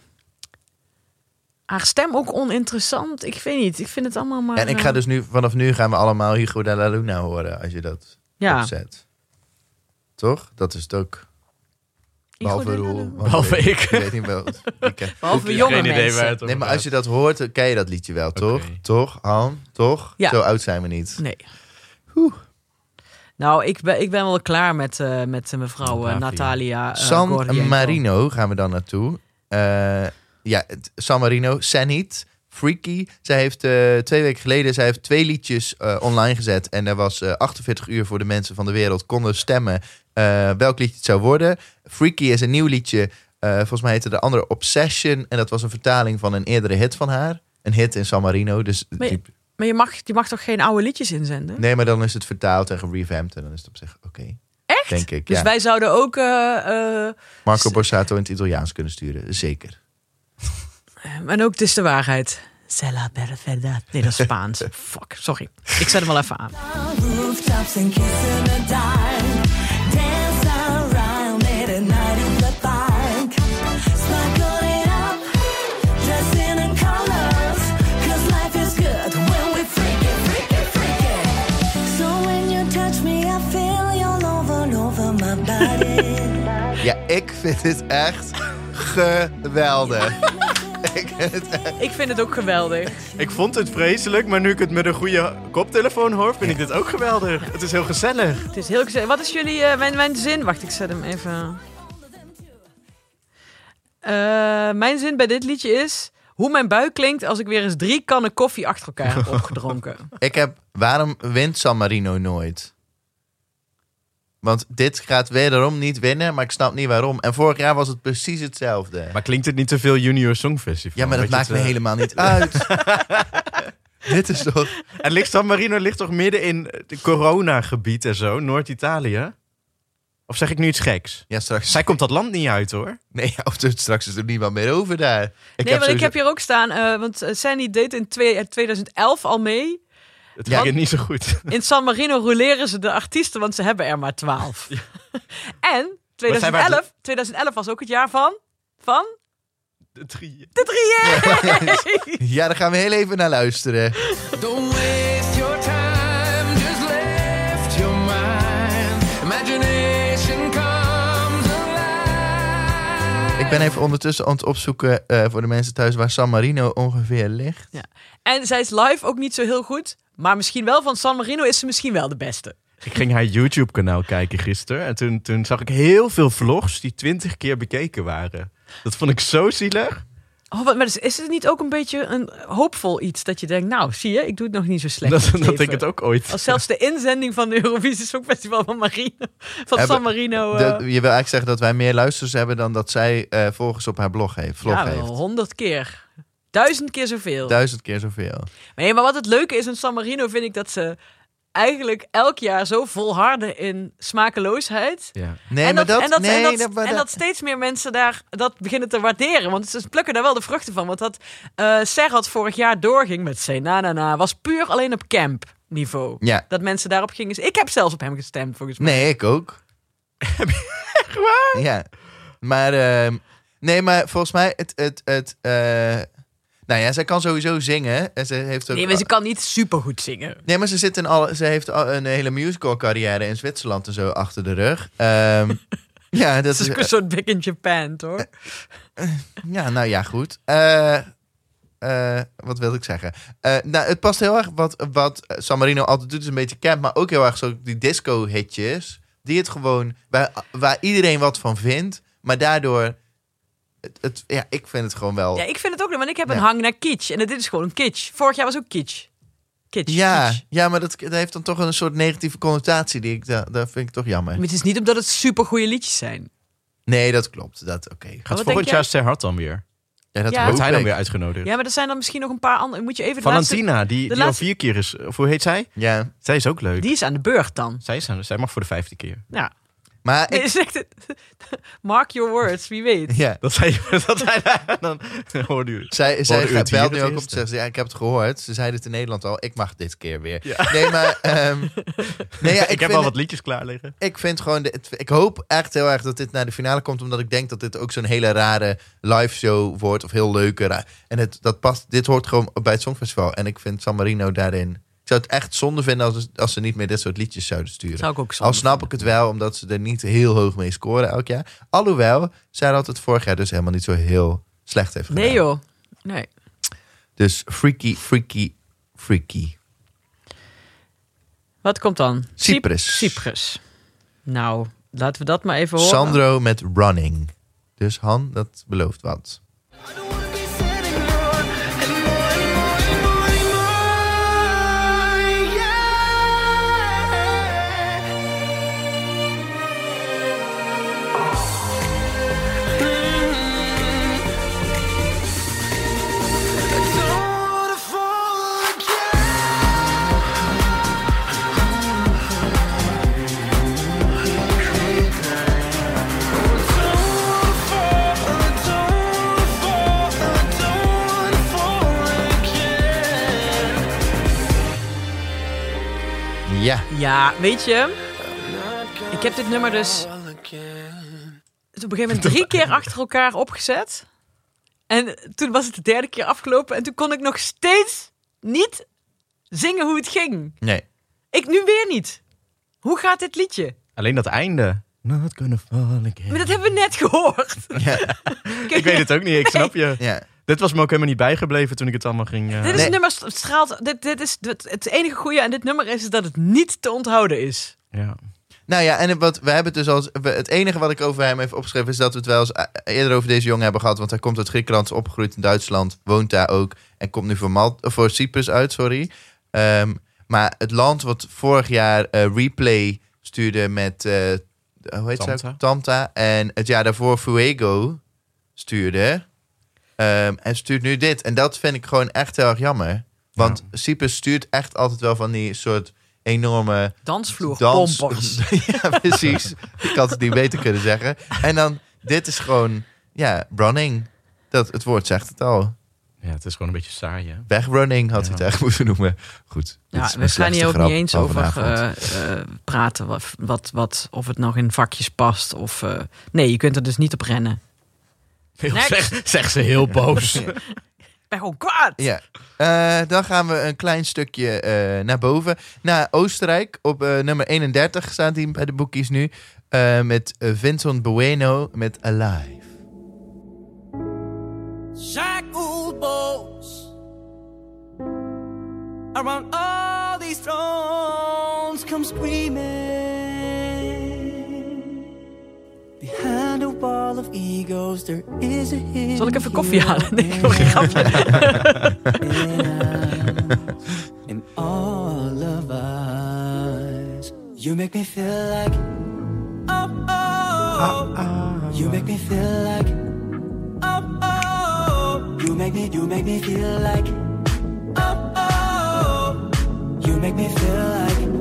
haar stem ook oninteressant. Ik weet niet, ik vind het allemaal maar... En ik ga eh, dus nu, vanaf nu gaan we allemaal Hugo de la Luna horen als je dat ja. opzet. Toch? Dat is het ook. Behalve de la Roel. Luna. want Behalve ik. ik. Ik weet niet wel. ik ken- Behalve jonge Geen idee mensen. waar het over Nee, maar gaat. als je dat hoort, dan ken je dat liedje wel, toch? Toch, Han? Toch? Ja. Zo oud zijn we niet. Nee. Nou, ik ben, ik ben wel klaar met, eh, met eh, mevrouw eh, Bravia. Natalia. eh, San Gordienko. Marino gaan we dan naartoe. Eh, ja, het- San Marino, Sanit, Freaky. Zij heeft eh, twee weken geleden zij heeft twee liedjes eh, online gezet. En er was eh, 48 uur voor de mensen van de wereld konden stemmen eh, welk liedje het zou worden. Freaky is een nieuw liedje. Eh, volgens mij heette de andere Obsession. En dat was een vertaling van een eerdere hit van haar. Een hit in San Marino. Dus Maar je- die- Maar je mag, je mag toch geen oude liedjes inzenden? nee, maar dan is het vertaald en gerevamped. En dan is het op zich oké. Echt? Denk ik, Dus ja. wij zouden ook... eh, eh, Marco Borsato in het Italiaans kunnen sturen. Zeker. en ook Het is de waarheid. Cella per verdad. Nee, dat is Spaans. Fuck, sorry. Ik zet hem wel even aan. rooftops and kissing the dark. Dance around it at night in the park. Sparkle it up, dress in the colors. Cause life is good when we freak it, freak it, freak it. So when you touch me, I feel you all over, and over my body. Ja, ik vind dit echt geweldig. ik, vind het echt- Ik vind het ook geweldig. Ik vond het vreselijk, maar nu ik het met een goede koptelefoon hoor, vind ik dit ook geweldig. Het is heel gezellig. Het is heel gezellig. Wat is jullie eh, mijn, mijn zin? Wacht, ik zet hem even. Eh, mijn zin bij dit liedje is: hoe mijn buik klinkt als ik weer eens drie kannen koffie achter elkaar heb opgedronken. Ik heb, waarom wint San Marino nooit? Want dit gaat wederom niet winnen, maar ik snap niet waarom. En vorig jaar was het precies hetzelfde. Maar klinkt het niet te veel Junior Songfestival? ja, maar Weet dat je maakt het, me eh, helemaal niet uit. dit is toch... En ligt San Marino ligt toch midden in het coronagebied en zo, Noord-Italië? Of zeg ik nu iets geks? Ja, straks... Zij komt dat land niet uit hoor. Nee, of dus straks is er niemand meer over daar. Ik nee, want ik heb hier ook staan, eh, want eh, Sandy deed in twee- eh, 2011 al mee. Het Ja. ging niet zo goed. In San Marino roleren ze de artiesten, want ze hebben er maar twaalf. En Maar zij waren 2011, 2011 was ook het jaar van, van De drie. de drieën. Ja, daar gaan we heel even naar luisteren. Don't waste your time, just lift your mind. Imagination comes alive. Ik ben even ondertussen aan het opzoeken eh, voor de mensen thuis waar San Marino ongeveer ligt. En zij is live ook niet zo heel goed, maar misschien wel van San Marino is ze misschien wel de beste. Ik ging haar YouTube-kanaal kijken gisteren. En toen, toen zag ik heel veel vlogs die twintig keer bekeken waren. Dat vond ik zo zielig. Oh, wat, maar is, is het niet ook een beetje een hoopvol iets dat je denkt, nou zie je, ik doe het nog niet zo slecht. Dat, in dat ik leven. het ook ooit. Als zelfs de inzending van de Eurovisie Songfestival van Marino, van Hebben- San Marino. Dat- eh, je wil eigenlijk zeggen dat wij meer luisteraars hebben dan dat zij eh volgers op haar blog heeft. Vlog ja, wel heeft. honderd keer. Duizend keer zoveel. Duizend keer zoveel. Maar Nee, maar wat het leuke is aan San Marino vind ik dat ze eigenlijk elk jaar zo volharden in smakeloosheid. Ja. Nee, en, maar dat, dat... en, dat, nee, en, dat, maar en dat steeds meer mensen daar dat beginnen te waarderen. Want ze plukken daar wel de vruchten van. Want dat eh Serhat vorig jaar doorging met Say Na Na Na... was puur alleen op camp niveau. Ja. Dat mensen daarop gingen. Ik heb zelfs op hem gestemd, volgens mij. Nee, ik ook. Echt waar? Ja. Maar, ehm, nee, maar volgens mij, het, het, het, eh, nou ja, zij kan sowieso zingen. En ze heeft ook Nee, maar ze kan niet supergoed zingen. Nee, maar ze, zit in alle, ze heeft al een hele musical carrière in Zwitserland en zo achter de rug. Ehm, ja, Eh, dat Het is is, ook een soort Big in Japan, hoor. ja, nou ja, goed. Eh, eh, wat wil ik zeggen? Eh, nou, het past heel erg wat, wat San Marino altijd doet. is een beetje camp, maar ook heel erg zo die disco-hitjes. Die het gewoon, waar, waar iedereen wat van vindt. Maar daardoor, het, het- ja, ik vind het gewoon wel... Ja, ik vind het ook leuk, want ik heb een Ja. hang naar kitsch. En dit is gewoon een kitsch. Vorig jaar was ook kitsch. Kitsch. Ja, kitsch. ja, maar dat, dat heeft dan toch een soort negatieve connotatie. Die ik, dat, dat vind ik toch jammer. Maar het is niet omdat het supergoeie liedjes zijn. Nee, dat klopt. Dat, oké. Gaat denk volgend jij? jaar Sterhard dan weer? Ja, dat Ja. hoop Wordt hij dan ik. weer uitgenodigd? Ja, maar er zijn dan misschien nog een paar andere. Moet je even de laatste- Valentina, die, die laatste- al vier keer is. Of hoe heet zij? Ja, Zij is ook leuk. Die is aan de beurt dan. Zij, is aan- zij mag voor de vijfde keer. Ja. maar Nee, ik, is echt- mark your words, wie weet. ja. Dat zij. Dat zij dan hoorde u. Zij, zij Hoorde u het gaat, belt hier nu het ook op eerste? te zeggen, ja, ik heb het gehoord. Ze zeiden het in Nederland al, ik mag dit keer weer. Nee, maar... ehm, nee, ja, ik, ik, heb vind, al wat liedjes klaar liggen. ik vind gewoon... de- het- ik hoop echt heel erg dat dit naar de finale komt. Omdat ik denk dat dit ook zo'n hele rare live show wordt. Of heel leuke. ra- En het, dat past, dit hoort gewoon bij het Songfestival. En ik vind San Marino daarin... Ik zou het echt zonde vinden als, als ze niet meer dit soort liedjes zouden sturen. Zou ik ook zo. Al snap ik het wel, omdat ze er niet heel hoog mee scoren elk jaar. Alhoewel, zij had het vorig jaar dus helemaal niet zo heel slecht heeft gedaan. Nee joh. Nee. Dus freaky, freaky, freaky. Wat komt dan? Cyprus. Cyp- Cyprus. Nou, laten we dat maar even horen. Sandro met running. Dus Han, dat belooft wat. Ja, Ja, weet je. Ik heb dit nummer dus op een gegeven moment drie keer achter elkaar opgezet. En toen was het de derde keer afgelopen. En toen kon ik nog steeds niet zingen hoe het ging. nee. Ik nu weer niet. Hoe gaat dit liedje? Alleen dat einde. Not gonna fall again. Maar dat hebben we net gehoord. Ja, Ik weet het ook niet, ik snap je. ja. Dit was me ook helemaal niet bijgebleven toen ik het allemaal ging... eh, Dit is Nee. een nummer st- straalt. Dit, dit is het, het enige goede aan dit nummer is dat het niet te onthouden is. ja. Nou ja, en wat, we hebben het dus als. we- het enige wat ik over hem heb opgeschreven is dat we het wel eens eh, eerder over deze jongen hebben gehad. Want hij komt uit Griekenland, is opgegroeid in Duitsland, woont daar ook. En komt nu voor, Mal, eh, voor Cyprus uit, sorry. Ehm, maar het land wat vorig jaar eh, Replay stuurde met. eh, hoe heet ze? Tamta. ook? Tamta. En het jaar daarvoor Fuego stuurde. ehm, en stuurt nu dit. En dat vind ik gewoon echt heel erg jammer. Want Cyprus stuurt echt altijd wel van die soort enorme Dansvloer, dans- pompers. ja, precies. Ik had het niet beter kunnen zeggen. En dan, dit is gewoon, ja, running. Dat, het woord zegt het al. Ja, het is gewoon een beetje saai, hè? Wegrunning had hij het Ja. echt moeten noemen. Goed. dit Ja, is we mijn gaan hier slechtste ook grap niet eens van over vanavond. eh, eh, praten. Wat, wat, wat, of het nog in vakjes past. Of, eh, nee, je kunt er dus niet op rennen. Next. Zeg, zeg ze heel boos. Ik ben gewoon kwaad. Ja. Eh, dan gaan we een klein stukje eh, naar boven. Naar Oostenrijk. Op eh, nummer 31 staat hij bij de boekies nu. Eh, met eh, Vincent Bueno met Alive. Jack old boys around all these thrones come screaming behind a wall of egos there is a hidden Zal ik even koffie hero halen? Nee, in gewoon een grapje. in all of us. You make me feel like oh oh. You make me feel like oh oh. You make me you make me feel like oh oh. You make me feel like.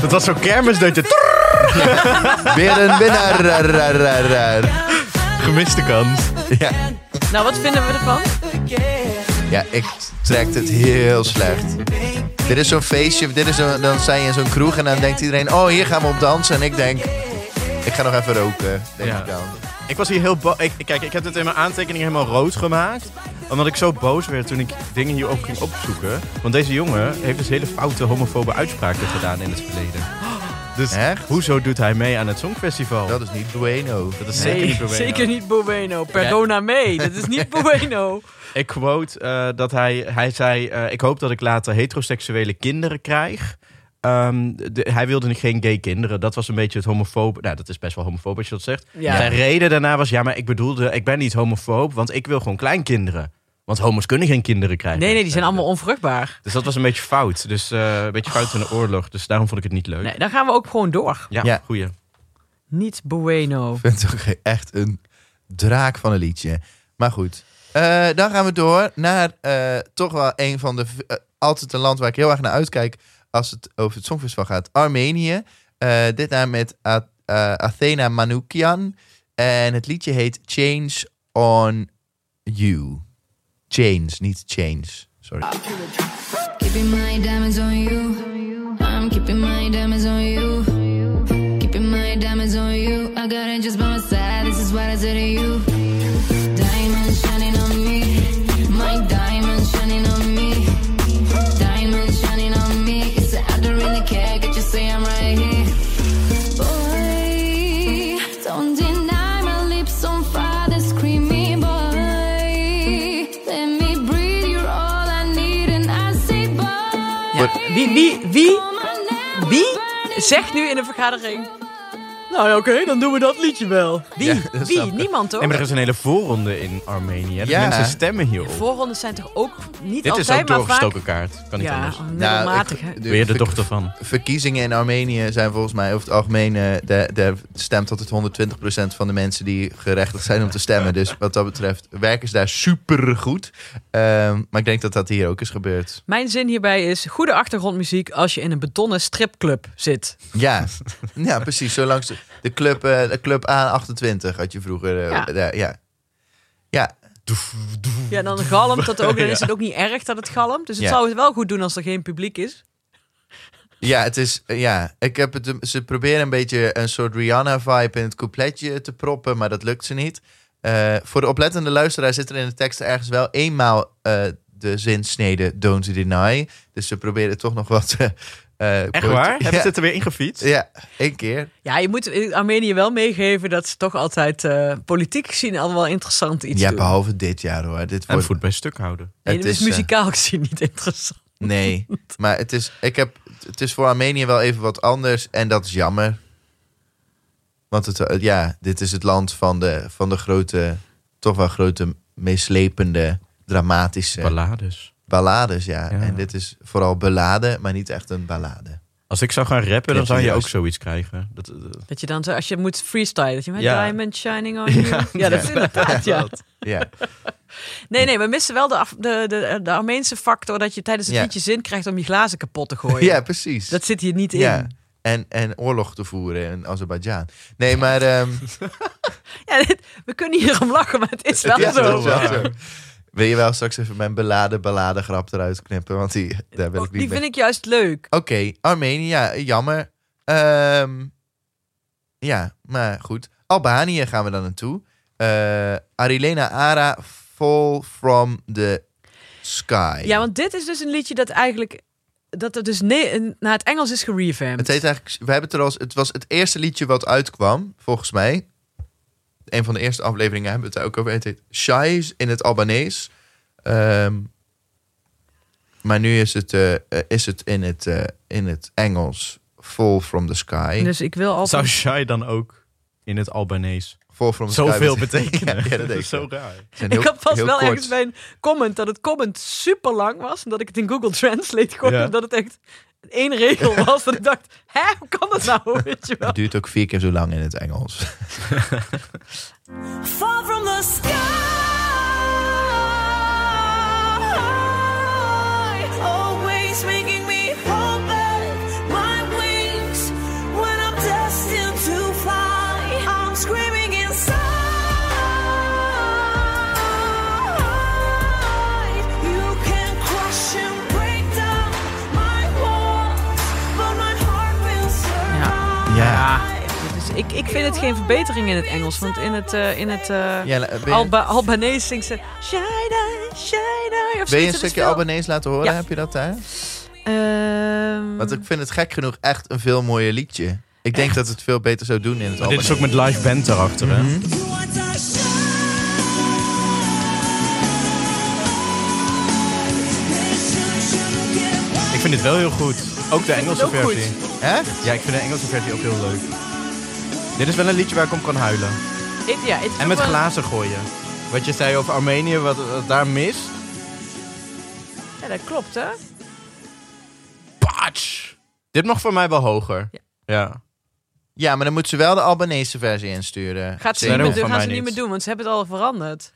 Dat was zo'n kermisdeutje. Weer een winnaar. Rar, rar, rar, rar. Gemiste kans. Ja. nou, wat vinden we ervan? Ja, ik trek het heel slecht. Dit is zo'n feestje, dit is zo'n- dan sta je in zo'n kroeg en dan denkt iedereen... oh, hier gaan we op dansen. En ik denk, ik ga nog even roken, denk Ja. ik dan. Ik was hier heel boos. Ik, kijk, ik heb dit in mijn aantekeningen helemaal rood gemaakt. Omdat ik zo boos werd toen ik dingen hierover ging opzoeken. Want deze jongen heeft dus hele foute homofobe uitspraken gedaan in het verleden. Oh. Dus Echt? hoezo doet hij mee aan het Songfestival? Dat is niet bueno. Dat is zeker niet Romeo. Zeker niet Bueno. Perdona mee. Dat is niet Bueno. Ik quote eh, dat hij, hij zei: eh, Ik hoop dat ik later heteroseksuele kinderen krijg. Ehm, de- hij wilde geen gay kinderen. Dat was een beetje het homofoob. Nou, dat is best wel homofoob als je dat zegt. Ja. Zijn reden daarna was: Ja, maar ik bedoelde, ik ben niet homofoob, want ik wil gewoon kleinkinderen. Want homo's kunnen geen kinderen krijgen. Nee, nee, die zijn allemaal onvruchtbaar. Dus dat was een beetje fout. Dus eh, een beetje fout in de oorlog. Dus daarom vond ik het niet leuk. Nee, dan gaan we ook gewoon door. Ja, Ja. goeie. Niet Bueno. Ik vind het ook echt een draak van een liedje. Maar goed, Eh, dan gaan we door naar eh, toch wel een van de... v- eh, altijd een land waar ik heel erg naar uitkijk als het over het Songfestival gaat. Armenië. Eh, dit daar met A- eh, Athena Manoukian. En het liedje heet Change on You. Change, niet Change. Sorry. Nou, Keeping my diamonds on you. I'm keeping my diamonds on you. Keeping my diamonds on you. I got angels by my side. This is what I said to you. Diamonds shining on me. My diamonds shining on me. Diamonds shining on me. It's a, I don't really care. Could you say I'm right here? Boy, don't deny my lips on fire. They're screaming, boy. Let me breathe. You're all I need, and I say, boy. Wie, wie, wie, Come on now. wie zegt nu in een vergadering... Nou, ja, oké, dan doen we dat liedje wel. Wie? wie? Niemand, toch? Nee, maar er is een hele voorronde in Armenië. Dus Ja. mensen stemmen hierop. Voorrondes zijn toch ook niet Dit is altijd, ook maar vaak... doorgestoken kaart. Kan niet Ja, Oh. anders. dus- middelmatig, ik- hè. de Weer de ver- dochter van. Verkiezingen in Armenië zijn volgens mij over het algemeen. eh, daar daar stemt altijd 120% van de mensen die gerechtigd zijn om te stemmen. Dus wat dat betreft werken ze daar super goed. maar ik denk dat dat hier ook is gebeurd. Mijn zin hierbij is goede achtergrondmuziek als je in een betonnen stripclub zit. Ja, ja precies. Zo langs de, de club, eh, de club A28 had je vroeger. eh, Ja. daar, ja. ja, Ja, en dan galmt dat ook. Dan is het ook niet erg dat het galmt. Dus het Ja. zou het wel goed doen als er geen publiek is. Ja, het is. eh, Ja, ik heb het. Ze proberen een beetje een soort Rihanna-vibe in het coupletje te proppen, maar dat lukt ze niet. Eh, voor de oplettende luisteraar zit er in de tekst ergens wel eenmaal eh, de zinsnede Don't Deny. Dus ze proberen toch nog wat. eh, eh, Echt waar? Hebben ze Ja, het er weer ingefietst? ja, één keer. Ja, je moet in Armenië wel meegeven dat ze toch altijd eh, politiek gezien al wel interessant iets Ja, doen. behalve dit jaar hoor. Dit En wordt, voet bij stuk houden. Nee, het dat is is, eh, muzikaal gezien niet interessant. Nee, maar het is, ik heb, het is voor Armenië wel even wat anders en dat is jammer. Want het, eh, ja, dit is het land van de, van de grote, toch wel grote, meeslepende, dramatische Ballades. ballades. Ja. Ja. En dit is vooral ballade, maar niet echt een ballade. Als ik zou gaan rappen, dan Net zou je zojuist. ook zoiets krijgen. Dat, eh, Dat je dan zo, als je moet freestylen, dat je met Ja. Diamond Shining on you. Ja, dat is inderdaad, ja. Ja, Nee, nee, we missen wel de, af, de, de, de Armeense factor dat je tijdens het Ja. liedje zin krijgt om je glazen kapot te gooien. ja precies. Oh Dat zit hier niet in. ja. Ja, En, en oorlog te voeren in Azerbeidzjan. Nee, maar... ehm, dit- we kunnen hier om lachen, maar het is wel Ja, zo. dat is wel Ja. zo. Wil je wel straks even mijn beladen beladen grap eruit knippen? Want die, daar wil Oh, ik die niet mee. vind ik juist leuk. Oké, Armenië, ja, jammer. Ehm, ja, maar goed. Albanië gaan we dan naartoe. Eh Arilena Ara, Fall from the Sky. Ja, want dit is dus een liedje dat eigenlijk dat het dus ne- een- naar het Engels is Het gerevamped. heet eigenlijk, we hebben het er al, eens- het was het eerste liedje wat uitkwam, volgens mij. Een van de eerste afleveringen hebben we het daar ook over. Het heet Shais in het Albanees. Ehm, maar nu is het, eh, eh, is het, in, het eh, in het Engels Fall from the Sky. Dus ik wil altijd. zou Shai dan ook in het Albanees Fall from the zoveel Sky. betekenen? Ja, ja, dat dat denk is ik. zo raar. Ze zijn ik heel- had pas heel wel kort. ergens bij een comment dat het comment super lang was. En dat ik het in Google Translate gooide. Ja. Omdat het echt één regel was. Dat ik dacht, hè, hoe kan dat nou? Weet je wel. Het duurt ook vier keer zo lang in het Engels. Fall from the sky. Always making me hold back my wings when I'm destined to fly. I'm screaming inside. You can crush and break down my walls, but my heart will survive. Ja. Dus ik, ik vind het geen verbetering in het Engels. Want in het, eh, in het eh, Ja, ben je- Alba, Albanees zingt ze... Shida, Shida. Of Wil je een zoiets. Het is stukje veel- Albanees laten horen? Ja. Mm. Heb je dat daar? Ehm, Want ik vind het gek genoeg echt een veel mooier liedje. Ik denk dat het veel beter zou doen in het Dit Albanees. is ook met live band erachter, hè? What a Ik vind dit wel heel goed. Ook de Engelse ook goed. versie. Echt? Ja, ik vind de Engelse versie ook heel leuk. Dit is wel een liedje waar ik om kan huilen. ik- ja, het is En met ook wel- glazen gooien. Wat je zei over Armenië, wat, wat daar mis. Ja, dat klopt, hè? Patsch! Dit mag voor mij wel hoger. Ja. Ja. Ja, maar dan moet ze wel de Albanese versie insturen. Gaat ze Zeker. niet meer Van doen, mij gaan ze niet niet. meer doen, want ze hebben het al veranderd.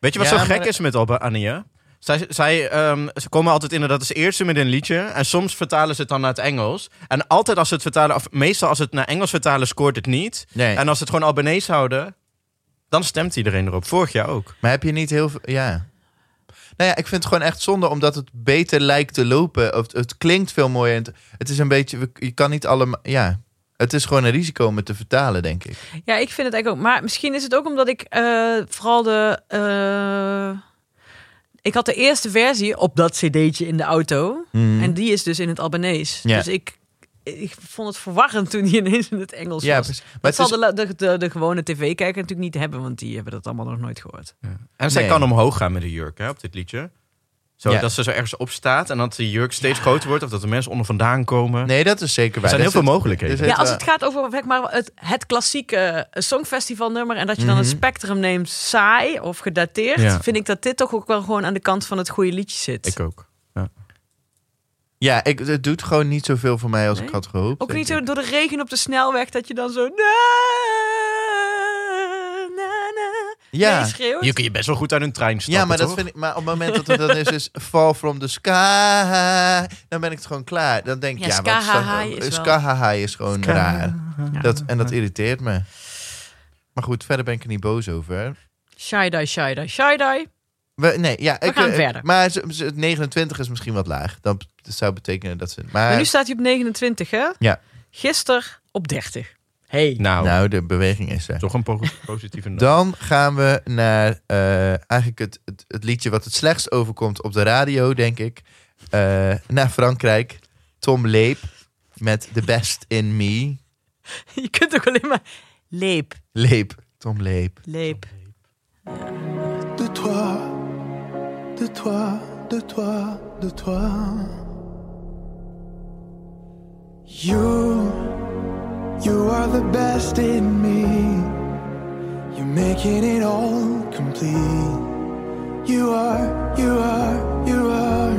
Weet je wat Ja, zo maar gek dat- is met Albanië? Zij, zij, ehm, ze komen altijd inderdaad als eerste met een liedje. En soms vertalen ze het dan naar het Engels. En altijd als ze het vertalen, of meestal als ze het naar Engels vertalen, scoort het niet. Nee. En als ze het gewoon Albanese houden, dan stemt iedereen erop. Vorig jaar ook. Maar heb je niet heel veel... Ja. Nou ja, ik vind het gewoon echt zonde, omdat het beter lijkt te lopen. Of het, het klinkt veel mooier. en Het, het is een beetje... we- Je kan niet allemaal... Ja. Het is gewoon een risico om het te vertalen, denk ik. Ja, ik vind het eigenlijk ook. Maar misschien is het ook omdat ik eh, vooral de. eh, ik had de eerste versie op dat cd'tje in de auto. En die is dus in het Albanees. Mhm. Ja. Dus ik, ik vond het verwarrend toen die ineens in het Engels Ja, was. precies. Maar dat het zal is- de, la- de, de, de gewone tv-kijker natuurlijk niet hebben, want die hebben dat allemaal nog nooit gehoord. En zij Nee. kan omhoog gaan met de jurk hè, op dit liedje. Zo, Ja. Dat ze zo ergens op staat en dat de jurk steeds groter wordt. Of dat de mensen onder vandaan komen. Nee, dat is zeker waar. zijn Dat heel veel is- mogelijkheden. dus Ja, het- als het gaat over zeg maar, het, het klassieke songfestival nummer en dat je dan Mhm. het spectrum neemt saai of gedateerd, Ja. vind ik dat dit toch ook wel gewoon aan de kant van het goede liedje zit. Ik ook. Ja. Ja, ik, het doet gewoon niet zoveel voor mij als Nee. ik had gehoopt. Ook denk niet ik. zo door de regen op de snelweg dat je dan zo. Na, na, na, Ja. mee schreeuwt. Hier kun je best wel goed uit een trein stappen, Ja, maar, dat toch? vind ik, maar op het moment dat het dan is, is Fall from the Sky, dan ben ik het gewoon klaar. Dan denk ik, Ja, ja, wat is dat- skahahai is wel- skahahai is gewoon raar. Ja. Dat, en dat irriteert me. Maar goed, verder ben ik er niet boos over. Shy-die, shy-die, shy-die. We, nee, ja, ik, gaan eh, verder. Maar ze- ze- het 29 is misschien wat laag. Dat b- dat zou betekenen dat ze... Maar, Maar nu staat hij op 29, hè? Ja. Gisteren op 30. Hey. Nou, nou, de beweging is er. toch een po- positieve noot. Dan gaan we naar eh, eigenlijk het, het, het liedje wat het slechtst overkomt op de radio, denk ik. Eh, naar Frankrijk. Tom Leep met The Best in Me. Je kunt ook alleen maar. Leep, Leep. Tom Leep. leep. Oh, de toi, de toi, de toi, de toi. You, you are the best in me. You're making it all complete. You are, you are, you are.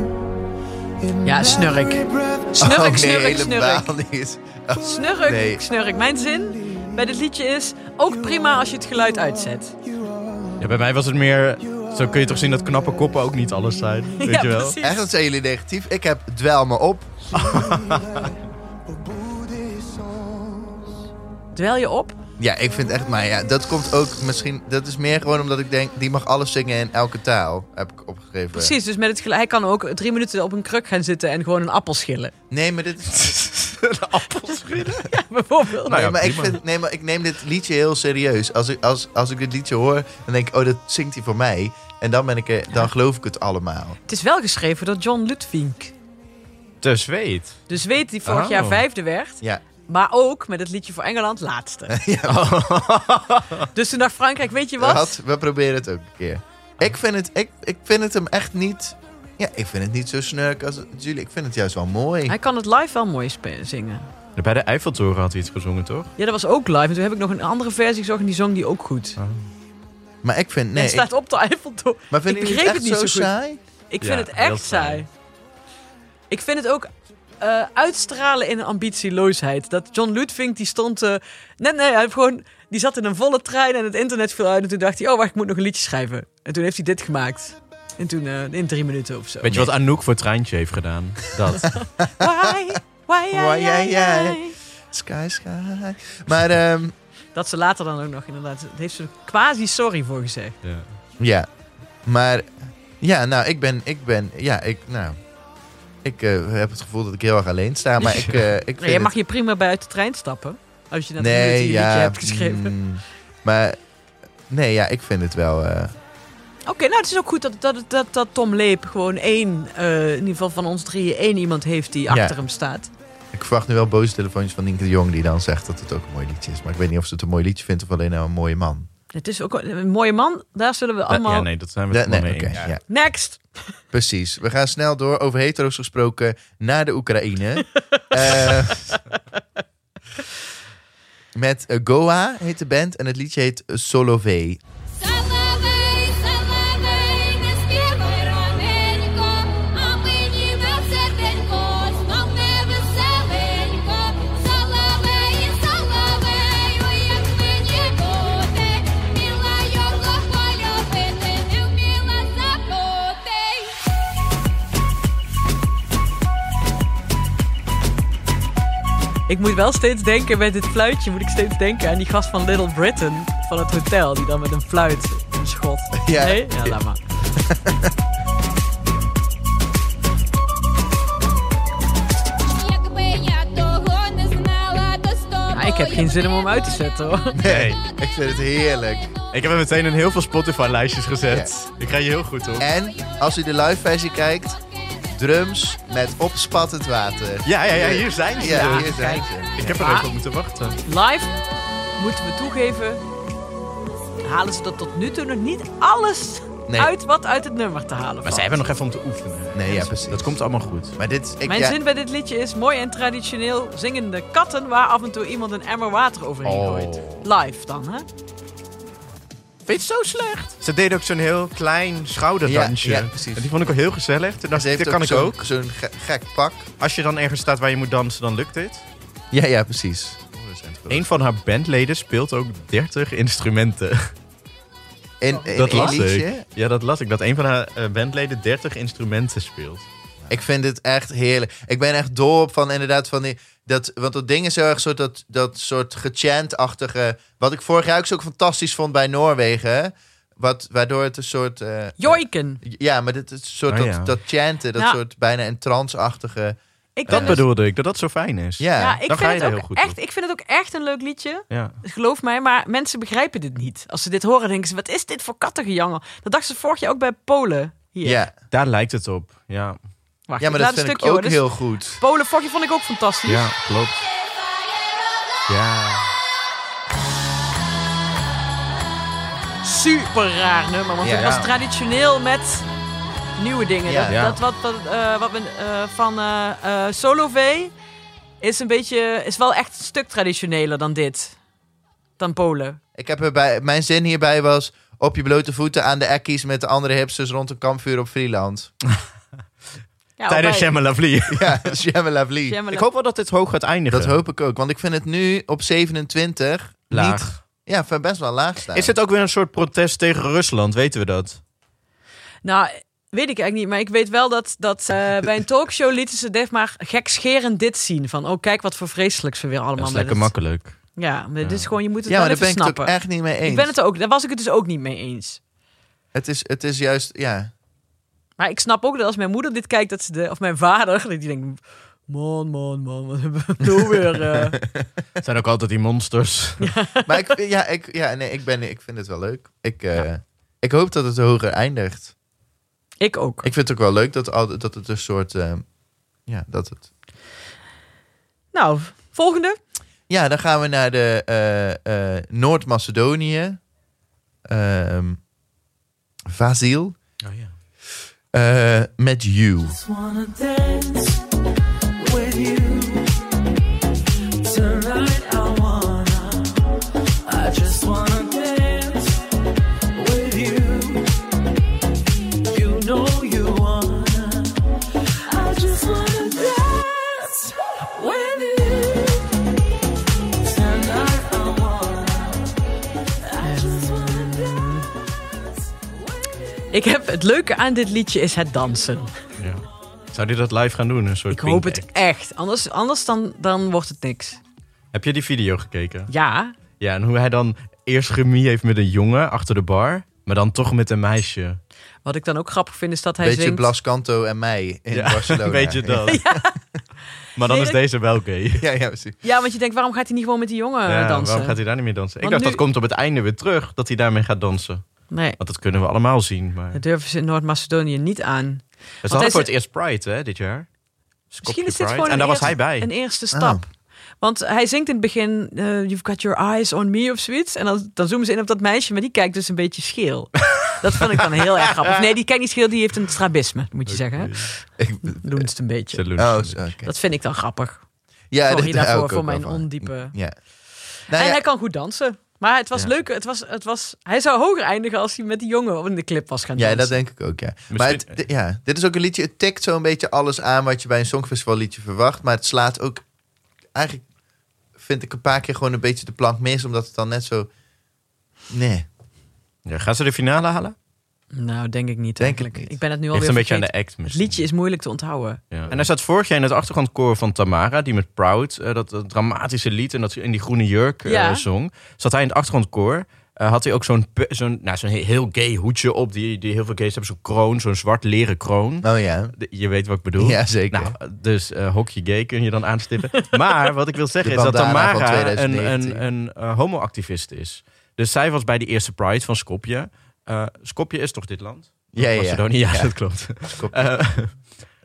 in Ja, snurk. every breath Snurk, Oh, nee, snurk, helemaal snurk. niet. Oh, Snurk, Nee. snurk. Mijn zin bij dit liedje is ook prima als je het geluid uitzet. Ja, bij mij was het meer... Zo kun je toch zien dat knappe koppen ook niet alles zijn. Weet ja, je wel? precies. Echt, dat zijn jullie negatief. Ik heb dwel me op. Dwel je op? Ja, ik vind echt, maar ja, dat komt ook misschien... Dat is meer gewoon omdat ik denk, die mag alles zingen in elke taal. Heb ik opgegeven. Precies, dus met het geluid. Hij kan ook drie minuten op een kruk gaan zitten en gewoon een appel schillen. Nee, maar dit is... Nou Ja, bijvoorbeeld. Nou ja, nee, maar ik prima. vind, nee, maar ik neem dit liedje heel serieus. Als ik, als, als ik dit liedje hoor, dan denk ik, oh, dat zingt hij voor mij. En dan, ben ik er, dan geloof ik het allemaal. Het is wel geschreven door John Ludwig. Te zweet. De zweet die vorig Oh. jaar vijfde werd. Ja. Maar ook met het liedje voor Engeland laatste. Dus toen dacht Frankrijk, weet je wat? Wat? We proberen het ook een keer. Ah. Ik vind het, ik, ik vind het hem echt niet... Ja, ik vind het niet zo snurk als het- jullie. Ik vind het juist wel mooi. Hij kan het live wel mooi spe- zingen. Bij de Eiffeltoren had hij iets gezongen, toch? Ja, dat was ook live. En toen heb ik nog een andere versie gezocht en die zong die ook goed. Maar ik vind... Nee, Nee, het staat op de Eiffeltoren. ik- maar vinden ik jullie het begreep echt het zo niet zo goed. saai? Ik Ja, vind het heel echt saai. saai. Ik vind het ook eh, uitstralen in een ambitieloosheid. Dat John Ludwig, die stond... eh, net, nee, hij heeft gewoon, die zat in een volle trein en het internet viel uit. En toen dacht hij, oh wacht, ik moet nog een liedje schrijven. En toen heeft hij dit gemaakt. En toen eh, in drie minuten of zo. Weet je wat Anouk voor Treintje heeft gedaan? Dat. Why? Why? Why, why, why, why, why? why? Sky, sky. Maar ehm, Dat ze later dan ook nog inderdaad... Daar heeft ze er quasi sorry voor gezegd. Ja. ja. Maar ja, nou, ik ben... Ik ben ja, ik... Nou, ik eh, heb het gevoel dat ik heel erg alleen sta. Maar ik, eh ik vind Nee, je mag het- hier prima bij uit de trein stappen. Als je net een nee, liedje ja, hebt geschreven. mm, maar nee, ja, ik vind het wel... eh, Oké, nou het is ook goed dat, dat, dat, dat Tom Leep gewoon één, eh, in ieder geval van ons drieën, één iemand heeft die achter hem staat. Ik verwacht nu wel boze telefoontjes van Nienke de Jong... die dan zegt dat het ook een mooi liedje is. Maar ik weet niet of ze het een mooi liedje vindt of alleen nou een mooie man. Het is ook een mooie man, daar zullen we allemaal... Ja, nee, dat zijn we Nee, het nee, allemaal mee oké, eens. ja. Next! Precies. We gaan snel door. Over hetero's gesproken naar de Oekraïne. Eh, met eh, Goa heet de band en het liedje heet Solovey. Соловей, соловей, не співай раненько, а мені веселенько, знов не веселенько. Соловей, соловей, ой, як мені буде, вміла його полюбити, не вміла забути. Ik moet wel steeds denken met dit fluitje, moet ik steeds denken aan die gast van Little Britain van het hotel, die dan met een fluit een schot. Ja. Nee? Ja, laat maar. Якби я того не знала, то з Ja, Nou, ik heb geen zin om hem uit te zetten hoor. Nee. Ik vind het heerlijk. Ik heb hem meteen in heel veel Spotify-lijstjes gezet. Ik krijg je heel goed op. En als u de live versie kijkt, drums met opspattend water. Ja, ja, ja, hier zijn ze. Ja, dus. hier zijn ze. Ik heb er even op moeten wachten. Live, moeten we toegeven, halen ze dat tot nu toe nog niet alles Nee. uit wat uit het nummer te halen Maar valt. ze hebben nog even om te oefenen. Nee, ja, precies. Dat komt allemaal goed. Maar dit, ik, Mijn ja, zin bij dit liedje is mooi en traditioneel zingende katten waar af en toe iemand een emmer water overheen gooit. Live dan, hè? Vind je het zo slecht? Ze deden ook zo'n heel klein schouderdansje. Ja, ja, precies. En die vond ik wel heel gezellig. Toen dacht ze ik, heeft dit kan ik zo'n- ook. Zo'n ge- gek pak. Als je dan ergens staat waar je moet dansen, dan lukt dit. Ja, ja, precies. Een van haar bandleden speelt ook 30 instrumenten. In, in dat één las liedje. ik. Ja, dat las ik. Dat een van haar eh, bandleden 30 instrumenten speelt. Ik vind dit echt heerlijk. Ik ben echt dol op van inderdaad van die... Dat, want dat ding is heel erg soort dat, dat soort gechant-achtige... Wat ik vorig jaar ook zo fantastisch vond bij Noorwegen. Wat, waardoor het een soort... eh, Joiken. ja, maar dit, het soort Oh, dat, ja. dat chanten. Dat Nou. soort bijna een trance-achtige... Ik Dat vind het- bedoelde ik, dat dat zo fijn is. Ja, ja, ik dan ga vind, je daar het heel ook goed echt, op. ik vind het ook echt een leuk liedje. Ja. Geloof mij, maar mensen begrijpen dit niet. Als ze dit horen, denken ze: wat is dit voor kattengejangen? Dat dachten ze vorig jaar ook bij Polen. Hier. ja. Daar lijkt het op. Ja, Wacht, ja, maar ik dat laat vind een ik stukje ook hoor. heel goed. Dus Polen vorig jaar vond ik ook fantastisch. ja klopt. Ja. Super raar nummer, want Ja. het was traditioneel met nieuwe dingen. Ja. Dat, Ja. dat wat, wat, eh, wat we, eh, van eh eh Solo V Is een beetje, is wel echt een stuk traditioneler dan dit. Dan Polen. Ik heb er bij, mijn zin hierbij was op je blote voeten aan de ekkies met de andere hipsters rond een kampvuur op Freeland. Ja, Tijdens waarbij- Shemma Lovely. Ja, Jamma Lovely. Shyamalan- Ik hoop wel dat dit hoog gaat eindigen. Dat hoop ik ook, want ik vind het nu op 27 Laag. niet... Ja, vind best wel laag staan. Is het ook weer een soort protest tegen Rusland? Weten we dat? Nou, weet ik eigenlijk niet. Maar ik weet wel dat, dat eh, bij een talkshow lieten ze Def maar gekscherend dit zien. Van, oh kijk wat voor vreselijks we weer allemaal Dat is met lekker het- makkelijk. Ja, maar dit is gewoon, je moet het ja, maar wel daar even ben ik het snappen. ook echt niet mee eens. Ik ben het ook, daar was ik het dus ook niet mee eens. Het is, het is juist, ja. Maar ik snap ook dat als mijn moeder dit kijkt, dat ze de, of mijn vader, dat die denkt, man, man, man, wat hebben we nou weer... eh?" Het zijn ook altijd die monsters. Maar ik, ja, ik, ja, nee, ik, ben, ik vind het wel leuk. Ik, eh, ik hoop dat het hoger eindigt. ik ook. Ik vind het ook wel leuk dat, al- dat het een soort... eh, ja, dat het... Nou, volgende. Ja, dan gaan we naar de eh, eh, Noord-Macedonië. Ehm Vasil. Oh, ja. eh, met You. just wanna dance with you tonight. I wanna, I just wanna dance with you. You know you wanna, I just wanna dance with you tonight. I wanna, I just wanna dance with you. Ik heb, het leuke aan dit liedje is het dansen. Ja. Zou die dat live gaan doen? Een soort Ik hoop Pink het Act? echt. Anders, anders dan, dan wordt het niks. Heb je die video gekeken? Ja, Ja, en hoe hij dan eerst gemie heeft met een jongen achter de bar, maar dan toch met een meisje. wat ik dan ook grappig vind is dat hij Beetje zingt... Blas Canto en mij in ja, Barcelona. Weet je dat? Maar dan Nee, is dat- deze wel gay. Ja, ja, precies. Ja, want je denkt, waarom gaat hij niet gewoon met die jongen Ja, eh, dansen? Waarom gaat hij daar niet meer dansen? Want ik dacht, nu- dat komt op het einde weer terug, dat hij daarmee gaat dansen. Nee, Want dat kunnen we allemaal zien. Maar... dat durven ze in Noord-Macedonië niet aan. Het was hij voor is- het eerst Pride, hè, dit jaar. Dus Misschien kopje is dit Pride. gewoon En daar een was hij eerste- bij. Ah. een eerste stap. Want hij zingt in het begin, eh, you've got your eyes on me of zoiets. En dan, dan zoomen ze in op dat meisje, maar die kijkt dus een beetje scheel. dat vond ik dan heel erg grappig. Of nee, die kijkt niet scheel, die heeft een strabisme, moet je zeggen. Ik- Doen het een beetje. Ze Nou oh, lunchen. zo, oké. Dat vind ik dan grappig. Ja, Sorry dit- daarvoor hou ik voor ook wel mijn van. ondiepe- Ja. en Nou ja, hij kan goed dansen. Maar het was Ja. leuk. Het was, het was, hij zou hoger eindigen als hij met die jongen in de clip was gaan ja, dansen. dat denk ik ook, ja. Maar het, Misschien- di- ja, dit is ook een liedje, het tikt zo'n beetje alles aan wat je bij een songfestival liedje verwacht. Maar het slaat ook, eigenlijk vind ik een paar keer gewoon een beetje de plank mis. Omdat het dan net zo, nee. Ja, gaan ze de finale halen? Nou, denk ik niet. Denk eigenlijk. ik niet. ben het nu alweer Ligt een beetje aan vergeten. de act Het misschien. liedje is moeilijk te onthouden. Ja. En hij zat vorig jaar in het achtergrondkoor van Tamara, die met Proud, eh, dat, dat dramatische lied en dat in die groene jurk eh, Ja. zong. Zat hij in het achtergrondkoor, eh, had hij ook zo'n pe- zo'n nou, zo'n he- heel gay hoedje op, die, die heel veel gays hebben, zo'n kroon, zo'n zwart leren kroon. Oh ja, De- Je weet wat ik bedoel. Ja, zeker. Nou, dus eh, hokje gay kun je dan aanstippen. maar wat ik wil zeggen De is dat bandana van Tamara een, 2019. een, een eh, homoactivist is. Dus zij was bij de eerste Pride van Skopje. Eh, Skopje is toch dit land? Ja, ja, ja. Macedonië, ja, dat klopt. Skopje. Eh,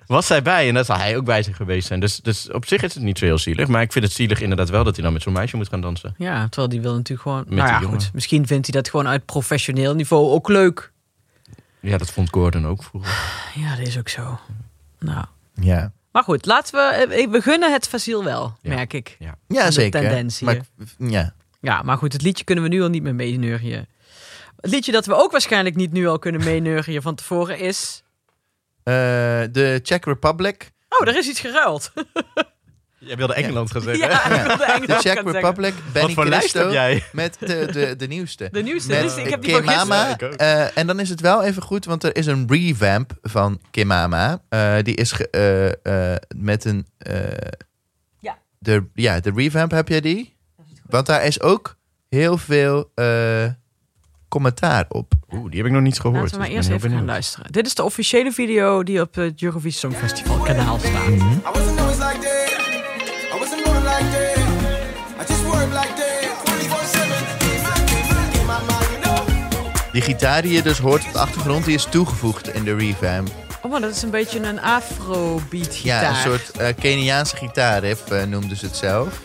was zij bij en daar zou hij ook bij zijn geweest zijn. Dus, dus op zich is het niet zo heel zielig. Maar ik vind het zielig inderdaad wel dat hij dan met zo'n meisje moet gaan dansen. Ja, terwijl die wil natuurlijk gewoon... Met nou die ja, jongen. goed. Misschien vindt hij dat gewoon uit professioneel niveau ook leuk. Ja, dat vond Gordon ook vroeger. Ja, dat is ook zo. Nou. ja. Maar goed, laten we... eh, We gunnen het Fasiel wel, Ja. merk ik. Ja. Ja, de zeker. tendens Maar, hier. ik- ja. Ja, maar goed, het liedje kunnen we nu al niet meer meeneurien. Het liedje dat we ook waarschijnlijk niet nu al kunnen meeneurien van tevoren is... Eh, de Czech Republic. Oh, er is iets geruild. Jij wilde Engeland gaan zeggen. ja, ik wilde Engeland De gaan Czech zeggen. Republic, Benny Wat voor lijst Christo heb jij? met de, de, de nieuwste. De nieuwste. Met dus ik heb die van gisteren. Kimama. gisteren. Ja, Eh, en dan is het wel even goed, want er is een revamp van Kimama. Eh, die is ge- eh, eh, met een. eh, Ja. De, ja, de revamp heb jij die? Want daar is ook heel veel eh, commentaar op. Oeh, die heb ik nog niet gehoord. Laten we maar dus eerst ik ben even heel gaan benieuwd. luisteren. Dit is de officiële video die op het Eurovisie Songfestival kanaal staat. I wasn't always like that. I wasn't born like that. I just work like that. 24-7. In my mind, you know. Die gitaar die je dus hoort op de achtergrond, die is toegevoegd in de revamp. Oh, maar dat is een beetje een afrobeat gitaar. Ja, een soort eh, Keniaanse gitaarriff eh, noemden ze het zelf.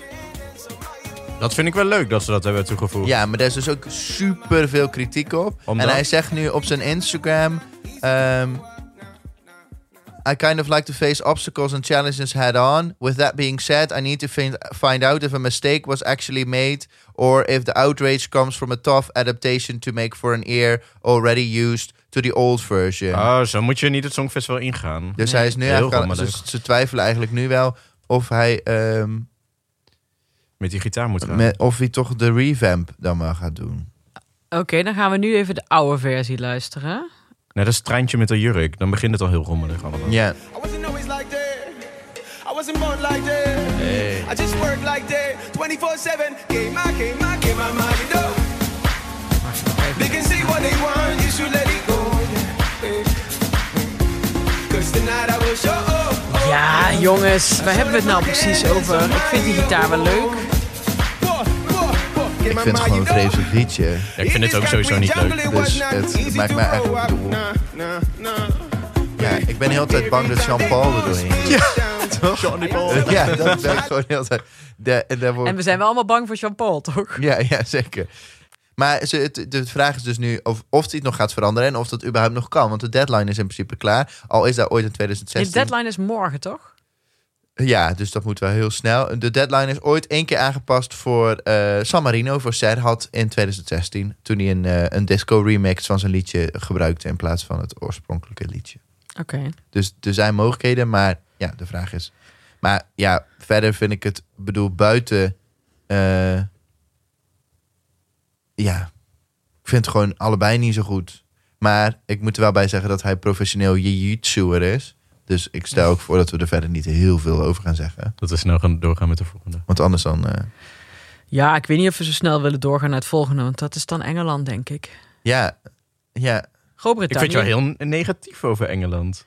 Dat vind ik wel leuk dat ze dat hebben toegevoegd. Ja, maar daar is dus ook super veel kritiek op. Omdat? En hij zegt nu op zijn Instagram. ehm, I kind of like to face obstacles and challenges head on. With that being said, I need to find, find out if a mistake was actually made or if the outrage comes from a tough adaptation to make for an ear already used to the old version. Oh, zo moet je niet het Songfestival ingaan. Dus hij is nu Heel eigenlijk. aan- rommelig. ze, ze twijfelen eigenlijk nu wel of hij, ehm, Met die gitaar moet gaan. me- of hij toch de revamp dan maar gaat doen. Oké, dan gaan we nu even de oude versie luisteren. Nee, dat is het treintje met de jurk. Dan begint het al heel rommelig allemaal. Ja. I wasn't always like that. I wasn't born like that. I just work like that. 24 7. Game my, game my, game my mind it up. They can say what they want. You should let it go. yeah, yeah. Cause tonight I will show up. Ja, jongens, waar hebben we het nou precies over? Ik vind die gitaar wel leuk. Ik vind het gewoon een vreselijk liedje. Ja, ik vind het ook sowieso niet leuk. Dus het maakt mij echt doel. Ja, ik ben heel de tijd bang dat Jean-Paul er doorheen is. Ja, toch? Jean-Paul. Ja, dat ben ik gewoon heel de tijd. De, en daar wordt- En we zijn wel allemaal bang voor Jean-Paul, toch? ja, ja, zeker. Maar ze, het, de vraag is dus nu of, of die het nog gaat veranderen en of dat überhaupt nog kan. Want de deadline is in principe klaar. Al is daar ooit in De 2016. deadline is morgen, toch? Ja, dus dat moet wel heel snel. De deadline is ooit één keer aangepast voor eh, San Marino, voor Serhat in 2016. Toen hij een, eh, een disco remix van zijn liedje gebruikte in plaats van het oorspronkelijke liedje. Oké. Dus er zijn mogelijkheden, maar ja, de vraag is. Maar ja, verder vind ik het, bedoel, buiten. eh, ja, ik vind het gewoon allebei niet zo goed. Maar ik moet er wel bij zeggen dat hij professioneel jiu-jitsuer is. Dus ik stel ook voor dat we er verder niet heel veel over gaan zeggen. Dat we snel gaan doorgaan met de volgende. Want anders dan. eh, Ja, ik weet niet of we zo snel willen doorgaan naar het volgende, want dat is dan Engeland, denk ik. ja, ja, Ik Groot-Brittannië. vind je wel heel ne- negatief over Engeland.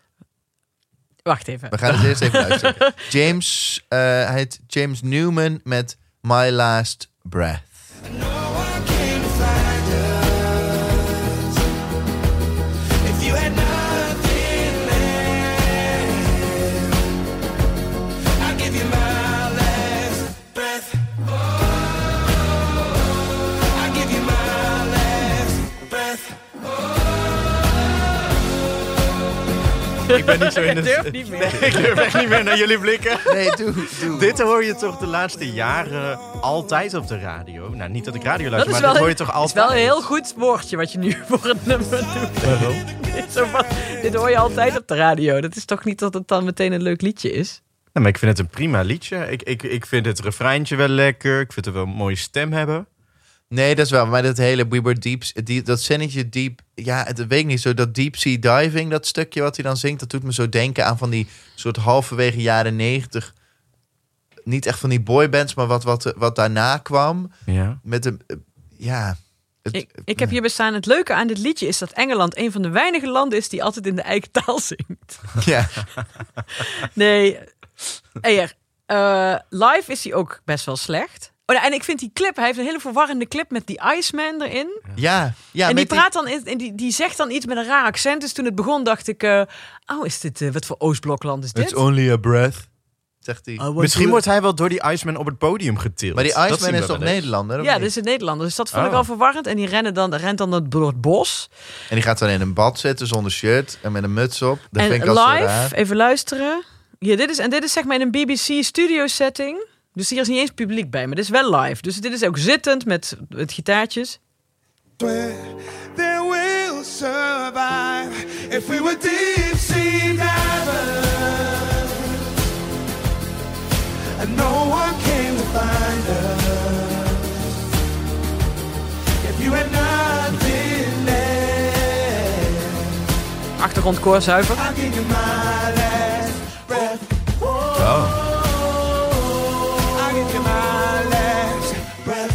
Wacht even. we gaan het eerst even luisteren. James, eh, hij heet James Newman met My Last Breath. If you had nothing left, I'll give you my last breath. I'll give you my last breath. Ik ben niet zo in het... niet meer. Ik durf echt niet meer naar jullie blikken. Nee, doe, doe. Dit hoor je toch de laatste jaren altijd op de radio? Nou, niet dat ik radio Dat luister, is maar wel, dat hoor je toch is altijd? wel een heel goed woordje wat je nu voor het nummer doet. Dit, is zo van- dit hoor je altijd op de radio. Dat is toch niet dat het dan meteen een leuk liedje is? Nou, maar ik vind het een prima liedje. Ik, ik, ik vind het refreintje wel lekker. Ik vind het wel een mooie stem hebben. Nee, dat is wel. Maar dat hele We Were Deep, die, dat zinnetje Deep... Ja, het weet ik niet zo. Dat Deep Sea Diving, dat stukje wat hij dan zingt... dat doet me zo denken aan van die soort halverwege jaren negentig... Niet echt van die boybands, maar wat, wat, wat daarna kwam. Ja. Met een... eh, Ja. Het- Ik, ik heb hier bestaan. Het leuke aan dit liedje is dat Engeland een van de weinige landen is die altijd in de eigen taal zingt. ja. Nee. Eer, eh, live is hij ook best wel slecht. Oh, nou, en ik vind die clip, hij heeft een hele verwarrende clip met die Iceman erin. ja, ja. en die met praat dan, in- en die, die zegt dan iets met een raar accent. Dus toen het begon dacht ik, eh, oh, is dit, eh, wat voor Oostblokland is dit? It's only a breath, zegt hij. Misschien wordt hij wel door die Iceman op het podium getild. maar die Dat zien Iceman we is toch wel eens. Nederlander? of Ja, niet? dat is een Nederlander. Dus dat vond ik Oh. al verwarrend. En die rennen dan, rent dan door het bro- bos. En die gaat dan in een bad zitten zonder shirt en met een muts op. Dat vind ik en al zo live, raar. even luisteren. Ja, dit is, en dit is zeg maar in een BBC studio setting. Dus hier is niet eens publiek bij, maar dit is wel live. Dus dit is ook zittend met, met gitaartjes. They will survive if we were deep sea divers. And no one came to find us. If you had nothing left, Achtergrondkoor zuiver. I'll give you my last breath. I'll give you my last breath.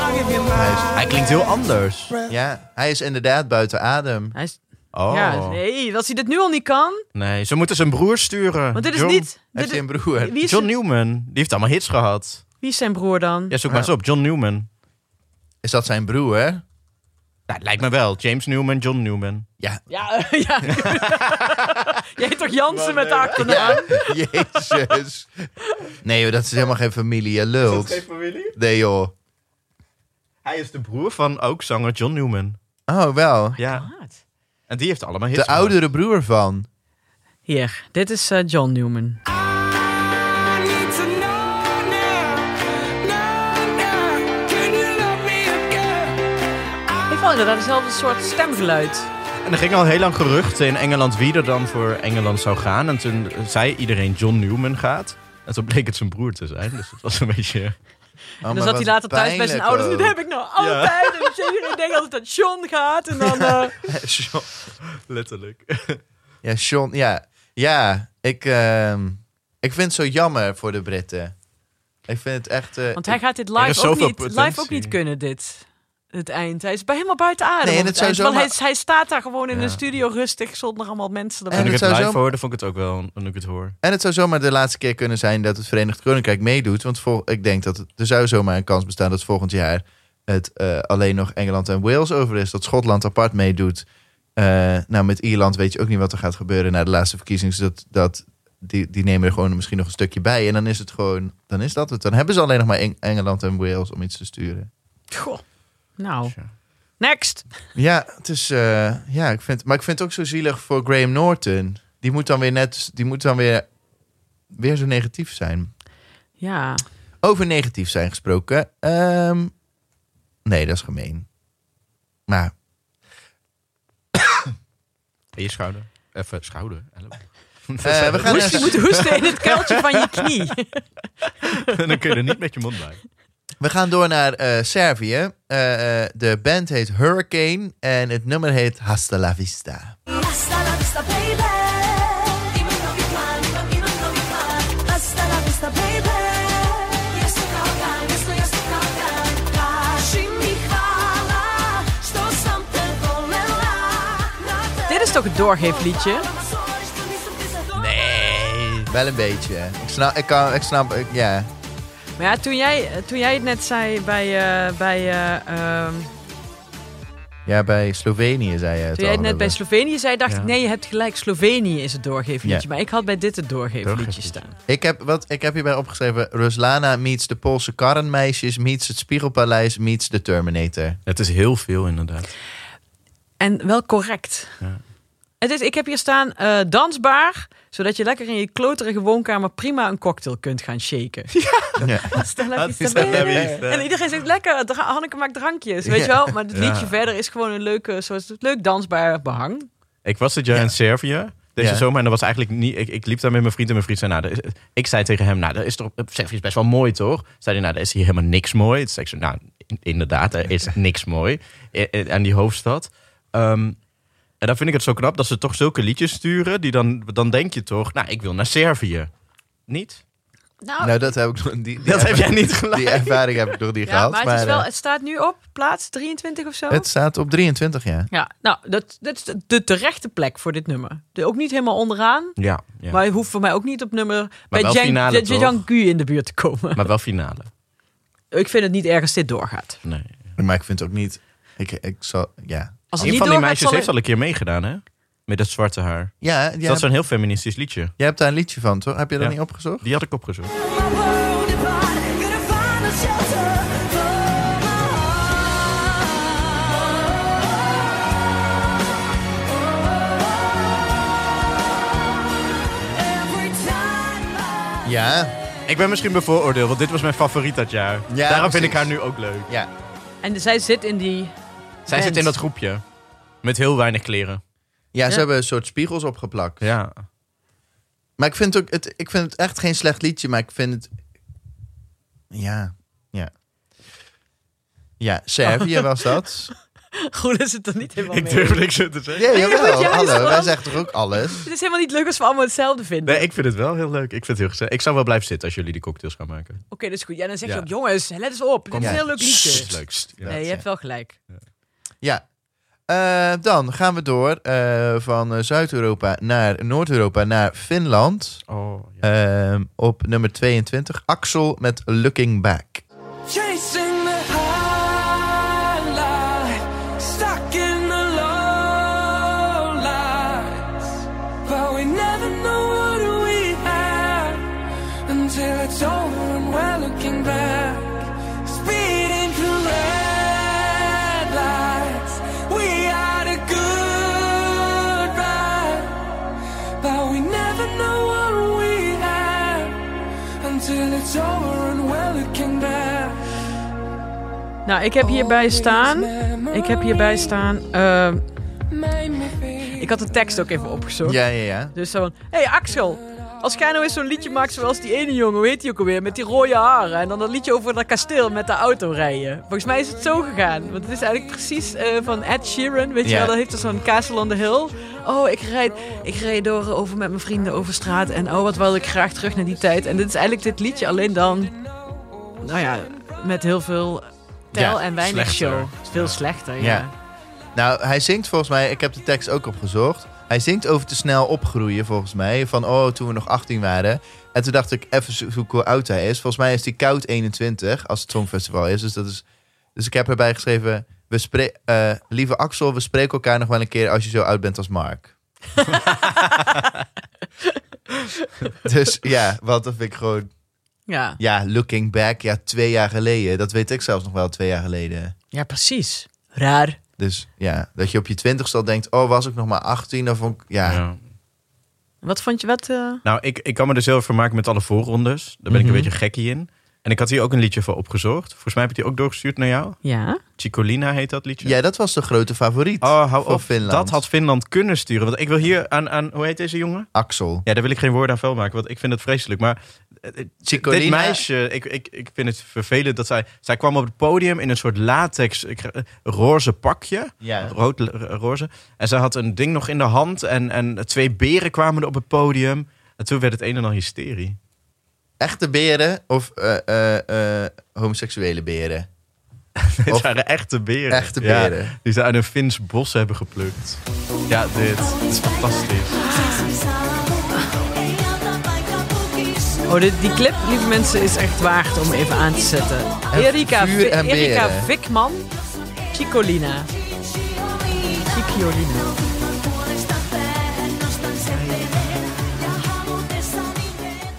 I'll give you my Hij klinkt heel anders. Ja, hij is inderdaad buiten adem. Hij is, Oh. ja, nee. nee, als hij dit nu al niet kan. ze moeten zijn broer sturen. Want dit is John, niet... Hij Dit heeft is, een broer. wie, is, John Newman. Die heeft allemaal hits gehad. wie is zijn broer dan? Ja, zoek maar eens op. John Newman. Is dat zijn broer? Nou, lijkt me wel. James Newman, John Newman. Ja. Ja, eh, ja. Jij heet toch Jansen met de achternaam? Jezus. Nee joh, dat is helemaal geen familie. Je lult. familie? Nee joh. Hij is de broer van ook zanger John Newman. Oh, wel. Ja. Maat. En die heeft allemaal hits. De gemaakt. oudere broer van. Oh, Hier, dit is eh, John Newman. I need to know now, now, now. Can you love me again? Ik vond inderdaad hetzelfde soort stemgeluid. En er ging al heel lang geruchten in Engeland wie er dan voor Engeland zou gaan. En toen zei iedereen John Newman gaat. En toen bleek het zijn broer te zijn. Dus het was een beetje... Oh, En maar dan zat hij wat later thuis bij zijn pijnlijk ouders. ook. Dat heb ik nou altijd. En dus iedereen denkt altijd dat John gaat. En dan, eh, John. Letterlijk. Ja, Sean, ja. Ja, ik, ehm, ik vind het zo jammer voor de Britten. Ik vind het echt... eh, want hij ik- gaat dit Er is live ook, zoveel niet, live potentie. ook niet kunnen, dit. Het eind. Hij is bij helemaal buiten adem. Nee, en op het het zou eind, want hij, zomaar- hij staat daar gewoon in Ja. de studio rustig zonder allemaal mensen En Toen erbij. ik het het zou live zo- hoorde, vond ik het ook wel, nu ik het hoor. En het zou zomaar de laatste keer kunnen zijn dat het Verenigd Koninkrijk meedoet. Want vol, ik denk dat het, er zou zomaar een kans bestaan dat volgend jaar het eh, alleen nog Engeland en Wales over is. Dat Schotland apart meedoet. Eh, nou, met Ierland weet je ook niet wat er gaat gebeuren na de laatste verkiezingen. Dus dat, dat, die, die nemen er gewoon misschien nog een stukje bij. En dan is het gewoon, dan is dat het. Dan hebben ze alleen nog maar Eng- Engeland en Wales om iets te sturen. Goh. Nou, next. Ja, het is, eh, ja ik vind, maar ik vind het ook zo zielig voor Graham Norton. Die moet dan weer net, die moet dan weer, weer zo negatief zijn. Ja. Over negatief zijn gesproken. Ehm, nee, dat is gemeen. Maar En je schouder. Even schouder. elleboog. eh, we gaan Hoest, je naar, moet hoesten in het kuiltje van je knie. dan kun je er niet met je mond bij. we gaan door naar eh, Servië. Eh, eh, de band heet Hurricane en het nummer heet Hasta la Vista. Hasta la vista, baby. Even though you can, even, even though you can. Hasta la vista, baby. Jestem kochana, jestem, jestem kochana. Kaži mi hvala, što sam te volela. Na te- Dit is toch het doorgeefliedje? Nee. Wel een beetje. Ik snap, ik kan, ik snap, ik- ja. Maar ja, toen jij, toen jij het net zei bij... eh, bij eh, ehm, Ja, bij Slovenië zei je het Toen jij al, het net bij Ruben. Slovenië zei, dacht Ja. ik, nee, je hebt gelijk, Slovenië is het doorgeefliedje. Ja. Maar ik had bij dit het doorgeefliedje Doorgeefliedje. staan. Ik heb, wat, ik heb hierbij opgeschreven. Ruslana meets de Poolse karrenmeisjes, meets het Spiegelpaleis, meets de Terminator. Het is heel veel inderdaad. En wel correct. Ja. Het is, ik heb hier staan, eh, dansbaar, zodat je lekker in je kloterige woonkamer prima een cocktail kunt gaan shaken. Ja. Stella Vista Stella Baby. Vista. En iedereen zegt, lekker, dra- Hanneke maakt drankjes, weet Ja. je wel? Maar het liedje Ja. verder is gewoon een leuke, soort, leuk dansbaar behang. Ik was dit jaar Ja. in Servië. Deze Ja. zomer. En dat was eigenlijk niet... Ik, ik liep daar met mijn vriend en mijn vriend zei... Nou, dat is- ik zei tegen hem... Nou, dat is toch... Servië is best wel mooi, toch? Zei hij... Nou, daar is hier helemaal niks mooi. Toen zei ik zo... Nou, in- inderdaad. Er is niks mooi. i- i- Aan die hoofdstad. Ehm, en dan vind ik het zo knap dat ze toch zulke liedjes sturen. Die dan... Dan denk je toch... Nou, ik wil naar Servië. Niet? Nou, Nou, dat heb ik nog- die, die Dat heb erva- jij niet gelijk. Die ervaring heb ik nog niet ja, gehad. maar, het, is wel, eh, het staat nu op plaats 23 of zo. Het staat op 23, ja. Ja, nou, dat, dat is de- de terechte plek voor dit nummer. De, ook niet helemaal onderaan, Ja. ja. maar je hoeft voor mij ook niet op nummer bij wel Jang- finale, Jan- Jan toch? Gu in de buurt te komen. Maar wel finale. Ik vind het niet erg als dit doorgaat. Nee. Maar ik vind het ook niet. Ik, ik zal, ja. Als het niet Een van die doorgaat, meisjes zal heeft ik- al een keer meegedaan, hè? Met dat zwarte haar. Ja, jij, Dat is hebt- zo'n heel feministisch liedje. jij hebt daar een liedje van, toch? Heb je dat Ja. niet opgezocht? Die had ik opgezocht. My world apart, gonna find a shelter for my heart. Every time I Ja. Ik ben misschien bevooroordeeld, want dit was mijn favoriet dat jaar. Ja, Daarom vind ik precies. haar nu ook leuk. Ja. En zij zit in die... Zij zit in dat groepje. Met heel weinig kleren. Ja, ze Ja. hebben een soort spiegels opgeplakt. Ja. Maar ik vind, ook, het, ik vind het echt geen slecht liedje, maar ik vind het... Ja, ja. Ja, Servië was dat. Goed is het er niet helemaal Ik mee. durf niks te zeggen. Ja, moet jawel. juist Hallo, wij wel. zeggen toch ook alles? Het is helemaal niet leuk als we allemaal hetzelfde vinden. Nee, ik vind het wel heel leuk. Ik vind het heel gezellig. Ik zou wel blijven zitten als jullie die cocktails gaan maken. Oké, dat is goed. Ja, dan zeg je Ja. ook, jongens, let eens op. Dit is Ja. een heel leuk Dat liedje. is leuk. Ja. Nee, je hebt wel gelijk. Ja. Eh, dan gaan we door eh, van eh, Zuid-Europa naar Noord-Europa, naar Finland. Oh, ja. Ehm, op nummer 22, Axel met Looking Back. Chasing the high life, stuck in the low lights. But we never know what we have until it's over and we're looking back. Speeding through red lights, we had a good Nou, ik heb hierbij staan. Ik heb hierbij staan. eh, ik had de tekst ook even opgezocht. Ja, ja, ja. Dus zo van, hé hey Axel, als jij nou eens zo'n liedje maakt zoals die ene jongen, weet je ook alweer, met die rode haren. En dan dat liedje over dat kasteel met de auto rijden. Volgens mij is het zo gegaan. Want het is eigenlijk precies eh, van Ed Sheeran, weet je Ja. wel, dat heeft er zo'n Castle on the Hill. Oh, ik rijd, ik rijd door eh, over met mijn vrienden over straat en oh, wat wil ik graag terug naar die tijd. En dit is eigenlijk dit liedje, alleen dan, nou ja, met heel veel tel Ja, en weinig slechter. show. Veel slechter, ja. Ja. Nou, hij zingt volgens mij, ik heb de tekst ook opgezocht. Hij zingt over te snel opgroeien volgens mij. Van oh, toen we nog 18 waren. En toen dacht ik even zo- zoeken hoe oud hij is. Volgens mij is hij koud 21 als het Songfestival is. Dus, dat is, dus ik heb erbij geschreven: we spre- eh, Lieve Axel, we spreken elkaar nog wel een keer als je zo oud bent als Mark. dus ja, wat dat vind ik gewoon. Ja, Ja, looking back, ja, twee jaar geleden. Dat weet ik zelfs nog wel twee jaar geleden. ja precies. Raar. Dus ja, dat je op je twintigste al denkt, oh, was ik nog maar 18? Dan vond ik, ja, Ja. Wat vond je wat? eh, Nou, ik, ik kan me er zelf van maken met alle voorrondes. Daar ben ik Mhm. een beetje gekkie in. En ik had hier ook een liedje voor opgezocht. Volgens mij heb ik die ook doorgestuurd naar jou. Ja. Chicolina heet dat liedje. ja, dat was de grote favoriet. Oh, hou Voor op. Finland. Dat had Finland kunnen sturen. Want ik wil hier aan, aan... Hoe heet deze jongen? Axel. Ja, daar wil ik geen woorden aan vuil maken. Want ik vind het vreselijk. Maar eh, eh, Chicolina- dit meisje... Ik, ik, ik vind het vervelend dat zij... Zij kwam op het podium in een soort latex ik- eh, roze pakje. Ja. Rood, eh, roze. En zij had een ding nog in de hand. En, en twee beren kwamen er op het podium. En toen werd het een en al hysterie. Echte beren of eh, eh, eh, homoseksuele beren? Het Of- waren echte beren. Echte Ja, beren. die ze uit een Fins bos hebben geplukt. Ja, dit. dit is fantastisch. Oh, dit, die clip, lieve mensen, is echt waard om even aan te zetten. En Erika, vuur Vi- en Erika beren. Vikman, Chicolina. Chicolina.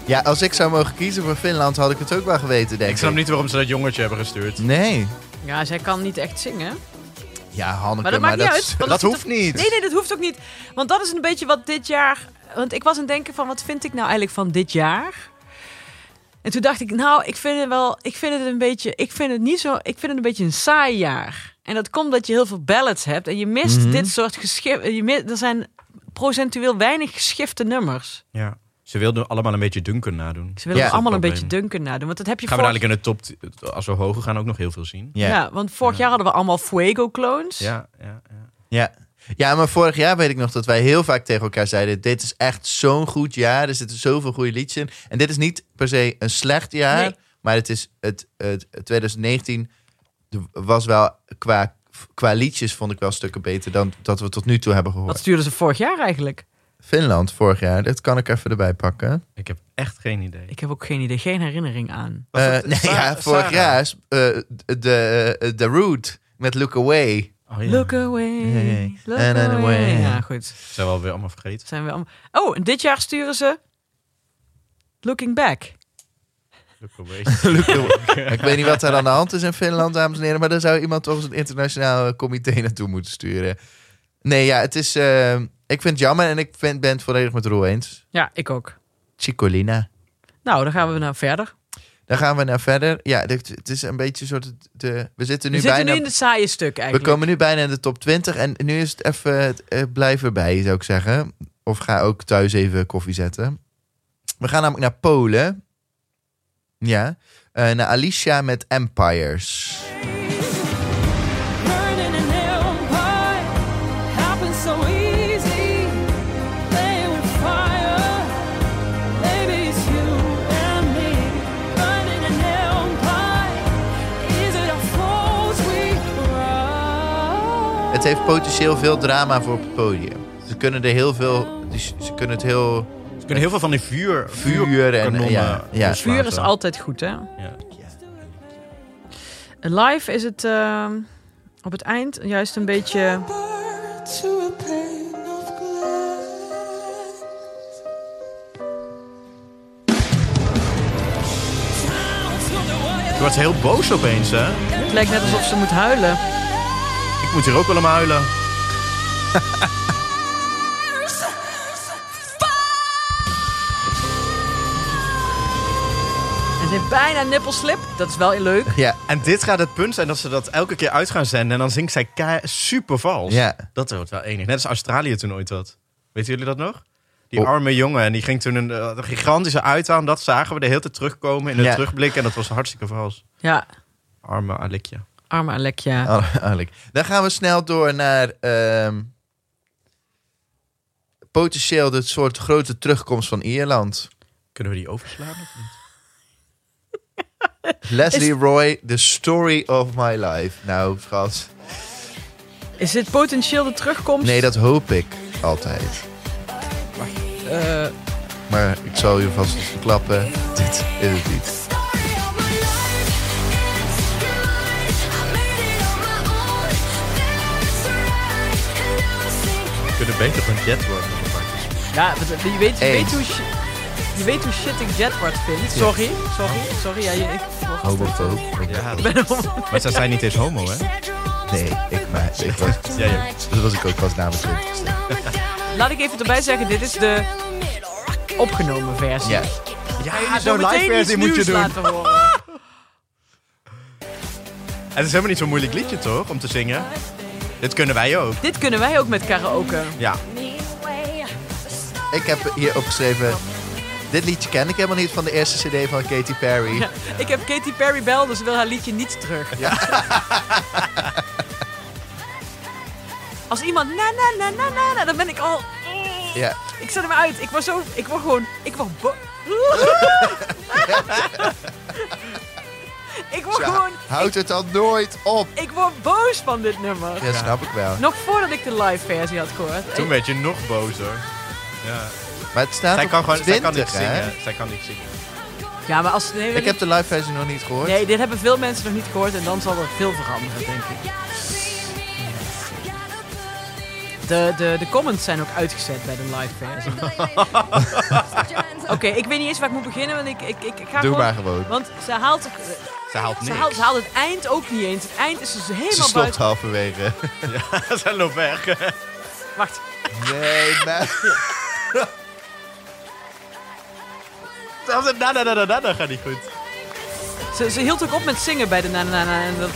Ja, als ik zou mogen kiezen voor Finland, had ik het ook wel geweten, denk ik. Ik snap niet waarom ze dat jongetje hebben gestuurd. Nee. Ja, zij kan niet echt zingen. Ja, Hanneke, Maar dat maakt niet is- uit, want dat het- hoeft niet. Nee, nee, dat hoeft ook niet. Want dat is een beetje wat dit jaar... Want ik was aan het denken van, wat vind ik nou eigenlijk van dit jaar? En toen dacht ik, nou, ik vind het wel... Ik vind het een beetje... Ik vind het niet zo... Ik vind het een beetje een saai jaar. En dat komt dat je heel veel ballads hebt. En je mist Mhm. dit soort geschif... Je mi- er zijn procentueel weinig geschifte nummers. Ja. Ze wilden allemaal een beetje Duncan nadoen. Ze willen Ja. er allemaal een Probleem. beetje dunken nadoen. Want dat heb je Gaan we vorig... dadelijk in de top, als we hoger gaan, ook nog heel veel zien. Ja. Ja, want vorig jaar hadden we allemaal Fuego-clones. Ja, ja, ja. Ja. ja, maar vorig jaar weet ik nog dat wij heel vaak tegen elkaar zeiden... dit is echt zo'n goed jaar, er zitten zoveel goede liedjes in. En dit is niet per se een slecht jaar... Nee. maar het is het, het 2019 was wel qua, qua liedjes... vond ik wel stukken beter dan dat we tot nu toe hebben gehoord. Wat stuurden ze vorig jaar eigenlijk? Finland vorig jaar, dat kan ik even erbij pakken. Ik heb echt geen idee. Ik heb ook geen idee, geen herinnering aan. Was Eh, het nee, Sa- ja, vorig Sarah? jaar is eh, de, de Root met Look Away. Oh, ja. Look away, Hey, look and away. away. Ja, goed. Zijn we alweer allemaal vergeten. Zijn we allemaal... Oh, en dit jaar sturen ze Looking Back. Look away. Look Away. ik weet niet wat er aan de hand is in Finland, dames en heren... maar daar zou iemand toch eens een internationaal eh, comité naartoe moeten sturen. Nee, ja, het is... eh, ik vind het jammer en ik vind, ben het volledig met Roel eens. Ja, ik ook. Chicolina. Nou, dan gaan we naar verder. Dan gaan we naar verder. Ja, dit, het is een beetje een soort... De, we zitten We nu zitten bijna... nu in het saaie stuk We eigenlijk. komen nu bijna in de top 20 en nu is het even eh, blijven bij, zou ik zeggen. Of ga ook thuis even koffie zetten. We gaan namelijk naar Polen. Ja, Eh, naar Alicia met Empires. Burning an empire happens so easy. Playing with fire, baby, it's you and me. Burning an empire. Is it a false we Het heeft potentieel veel drama voor op het podium. Ze kunnen er heel veel... die- Ze kunnen het heel... Ze kunnen heel veel van die vuur, Vuur en- vuurkanonnen ja, ja. loslaten. Vuur is altijd goed, hè? Ja. Live is het ehm, op het eind juist een beetje... Ik word heel boos opeens, hè. Het lijkt net alsof ze moet huilen. Ik moet hier ook wel om huilen. En Ze heeft bijna nippelslip. Dat is wel leuk. Ja, En dit gaat het punt zijn dat ze dat elke keer uit gaan zenden. En dan zingt zij kei- super vals. Ja. Dat wordt wel enig. Net als Australië toen ooit had. Weten jullie dat nog? Die Oh. arme jongen. En die ging toen een, eh, gigantische uithaan. Dat zagen we de hele tijd terugkomen in de Ja. terugblik. En dat was hartstikke vals. Ja, Arme Alikja. arme Alekja. eigenlijk. Dan gaan we snel door naar ehm, potentieel dit soort grote terugkomst van Ierland. Kunnen we die overslaan? of niet? Leslie Roy, The Story of My Life. Nou, schat. Is dit potentieel de terugkomst? Nee, dat hoop ik altijd. Eh, Maar ik zal je vast eens verklappen. Dit is het niet. We kunnen beter van Jet worden. gepakt. ja, want, eh, je weet, je weet Eens. hoe... shi- Je weet hoe shit ik Jedward vind. Sorry, sorry, sorry. Ja, je, ik, Homofoob. Ja, ben om- maar zij zijn niet eens homo, hè? Nee, ik, maar, ik was, Ja, ja. dat was ik ook pas namens het. Laat ik even erbij zeggen, dit is de opgenomen versie. Ja. ja Zo zo'n live versie moet je doen. Laten horen. En het is helemaal niet zo'n moeilijk liedje, toch? Om te zingen. Dit kunnen wij ook. Dit kunnen wij ook met karaoke. Ja. Ik heb hier opgeschreven... Dit liedje ken ik helemaal niet van de eerste cd van Katy Perry. Ik heb Katy Perry bel, dus ze wil haar liedje niet terug. Als iemand na na na na na na, dan ben ik al... Ja. Ik zet hem uit. Ik was zo... Ik word gewoon... Ik word bo... ik word Ja, gewoon... Houd het dan nooit op. Ik word boos van dit nummer. Ja, snap ik wel. Nog voordat ik de live versie had gehoord. Toen werd je nog bozer. Ja. Maar het staat Zij op kan gewoon zij kan niet 20, hè? zingen. Zij kan niet zingen. Ja, maar als... Nee, Ik heb de live versie nog niet gehoord. nee, dit hebben veel mensen nog niet gehoord en dan zal er veel veranderen, denk ik. De, de, de comments zijn ook uitgezet bij de live versie. Oké, ik weet niet eens waar ik moet beginnen, want ik, ik, ik, ik ga Doe gewoon... maar gewoon. Want ze haalt, Ze haalt ze, niks. haalt, ze haalt het eind ook niet eens. Het eind is dus helemaal Ze stopt buiten... halverwege. Zij loopt weg. Wacht. Nee, maar... Zelfs het Nou, na na na na na na gaat niet goed. Ze, ze hield ook op met zingen bij de na na na na. en dat-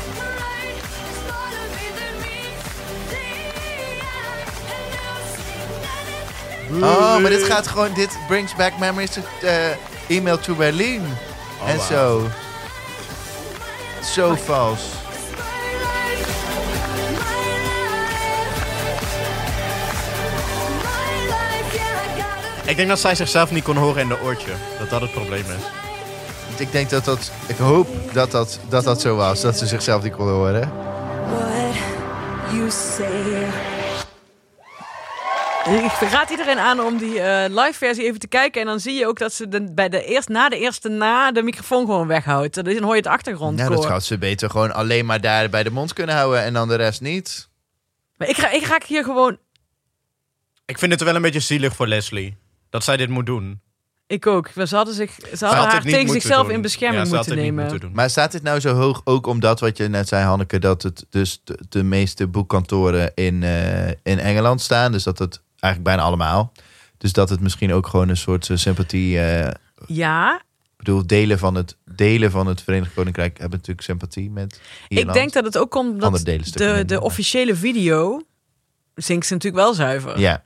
Oh, maar dit gaat gewoon... Dit brings back memories to eh, Email to Berlin. en wauw. zo. Zo vals. Ik denk dat zij zichzelf niet kon horen in de oortje. Dat dat het probleem is. Ik denk dat dat... Ik hoop dat dat, dat, dat zo was. Dat ze zichzelf niet konden horen. Ik raad iedereen aan om die eh, live versie even te kijken. En dan zie je ook dat ze de, bij de eerst, na de eerste na de microfoon gewoon weghoudt. Dan hoor je het achtergrondkoor. Nou, dat gaat ze beter gewoon alleen maar daar bij de mond kunnen houden en dan de rest niet. Maar ik, ra- ik raak hier gewoon... Ik vind het wel een beetje zielig voor Leslie. Dat zij dit moet doen. Ik ook. Ze hadden, zich, ze Ze hadden had haar het niet tegen moeten zichzelf doen. in bescherming Ja, ze had moeten het niet nemen. moeten doen. Maar staat dit nou zo hoog ook omdat wat je net zei, Hanneke, dat het dus de, de meeste boekkantoren in, eh, in Engeland staan? Dus dat het eigenlijk bijna allemaal. Dus dat het misschien ook gewoon een soort eh, sympathie. eh, Ja, ik bedoel, delen van, het, delen van het Verenigd Koninkrijk hebben natuurlijk sympathie met. Ierland. ik denk dat het ook komt dat Andere delen stukken de, minder, de maar- officiële video zingt ze natuurlijk wel zuiver. Ja,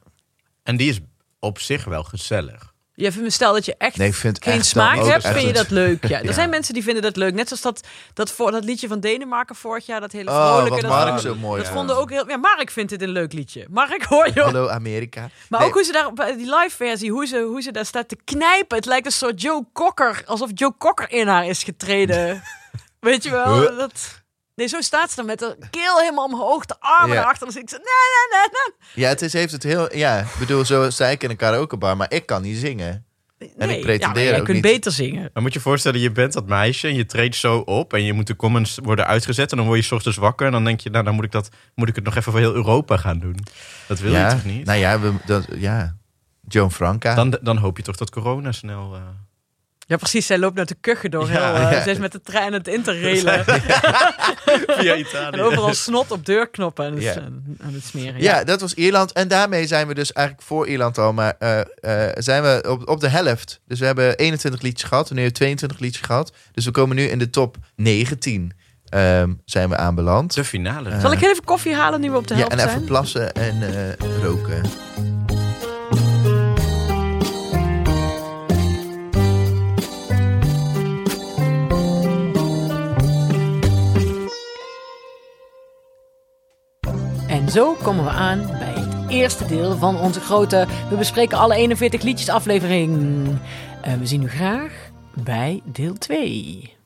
En die is op zich wel gezellig. Je vindt, stel dat je echt Nee, ik vind geen echt smaak dan ook hebt, echt vind je het- dat leuk. Ja. Ja. Er zijn mensen die vinden dat leuk. Net zoals dat, dat, voor, dat liedje van Denemarken vorig jaar, dat hele Oh, vrolijke. wat dat Mark vonden- zo mooi Dat vond. vonden ook heel... Ja, Mark vindt dit een leuk liedje. Mark, hoor je ook. hallo Amerika. Maar Nee, ook hoe ze daar, bij die live versie, hoe ze, hoe ze daar staat te knijpen. Het lijkt een soort Joe Cocker, alsof Joe Cocker in haar is getreden. Weet je wel? Huh? Dat... Nee, zo staat ze dan met haar keel helemaal omhoog, de armen Ja. erachter. Dus ik zeg, nee, nee, nee, nee. Ja, het is, heeft het heel. Ja, ik bedoel, zo zei ik in een karaokebar, maar ik kan niet zingen. En ik Nee. pretendeer ja, maar jij ook kunt niet. beter zingen. Dan moet je voorstellen, je bent dat meisje en je treedt zo op. En je moet de comments worden uitgezet. En dan word je 's ochtends wakker. En dan denk je, nou dan moet ik, dat, moet ik het nog even voor heel Europa gaan doen. Dat wil ja? je toch niet? Nou ja, we, dat, ja. Joan Franca. Dan, dan hoop je toch dat corona snel... eh, Ja, precies. Zij loopt naar te kuchen door Ja, heel... eh, ja. Ze is met de trein aan het interrailen. Via en Italië. overal snot op deurknoppen aan het, Ja. aan- aan het smeren. Ja, dat was Ierland. En daarmee zijn we dus eigenlijk voor Ierland al. Maar eh, eh, zijn we op, op de helft. Dus we hebben 21 liedjes gehad. We hebben 22 liedjes gehad. Dus we komen nu in de top 19. ehm, zijn we aanbeland. De Eh, finale. Zal ik heel even koffie halen nu we op de ja, helft en zijn? even plassen en eh, roken. En zo komen we aan bij het eerste deel van onze grote We bespreken alle 41 liedjes aflevering. Eh, we zien u graag bij deel 2.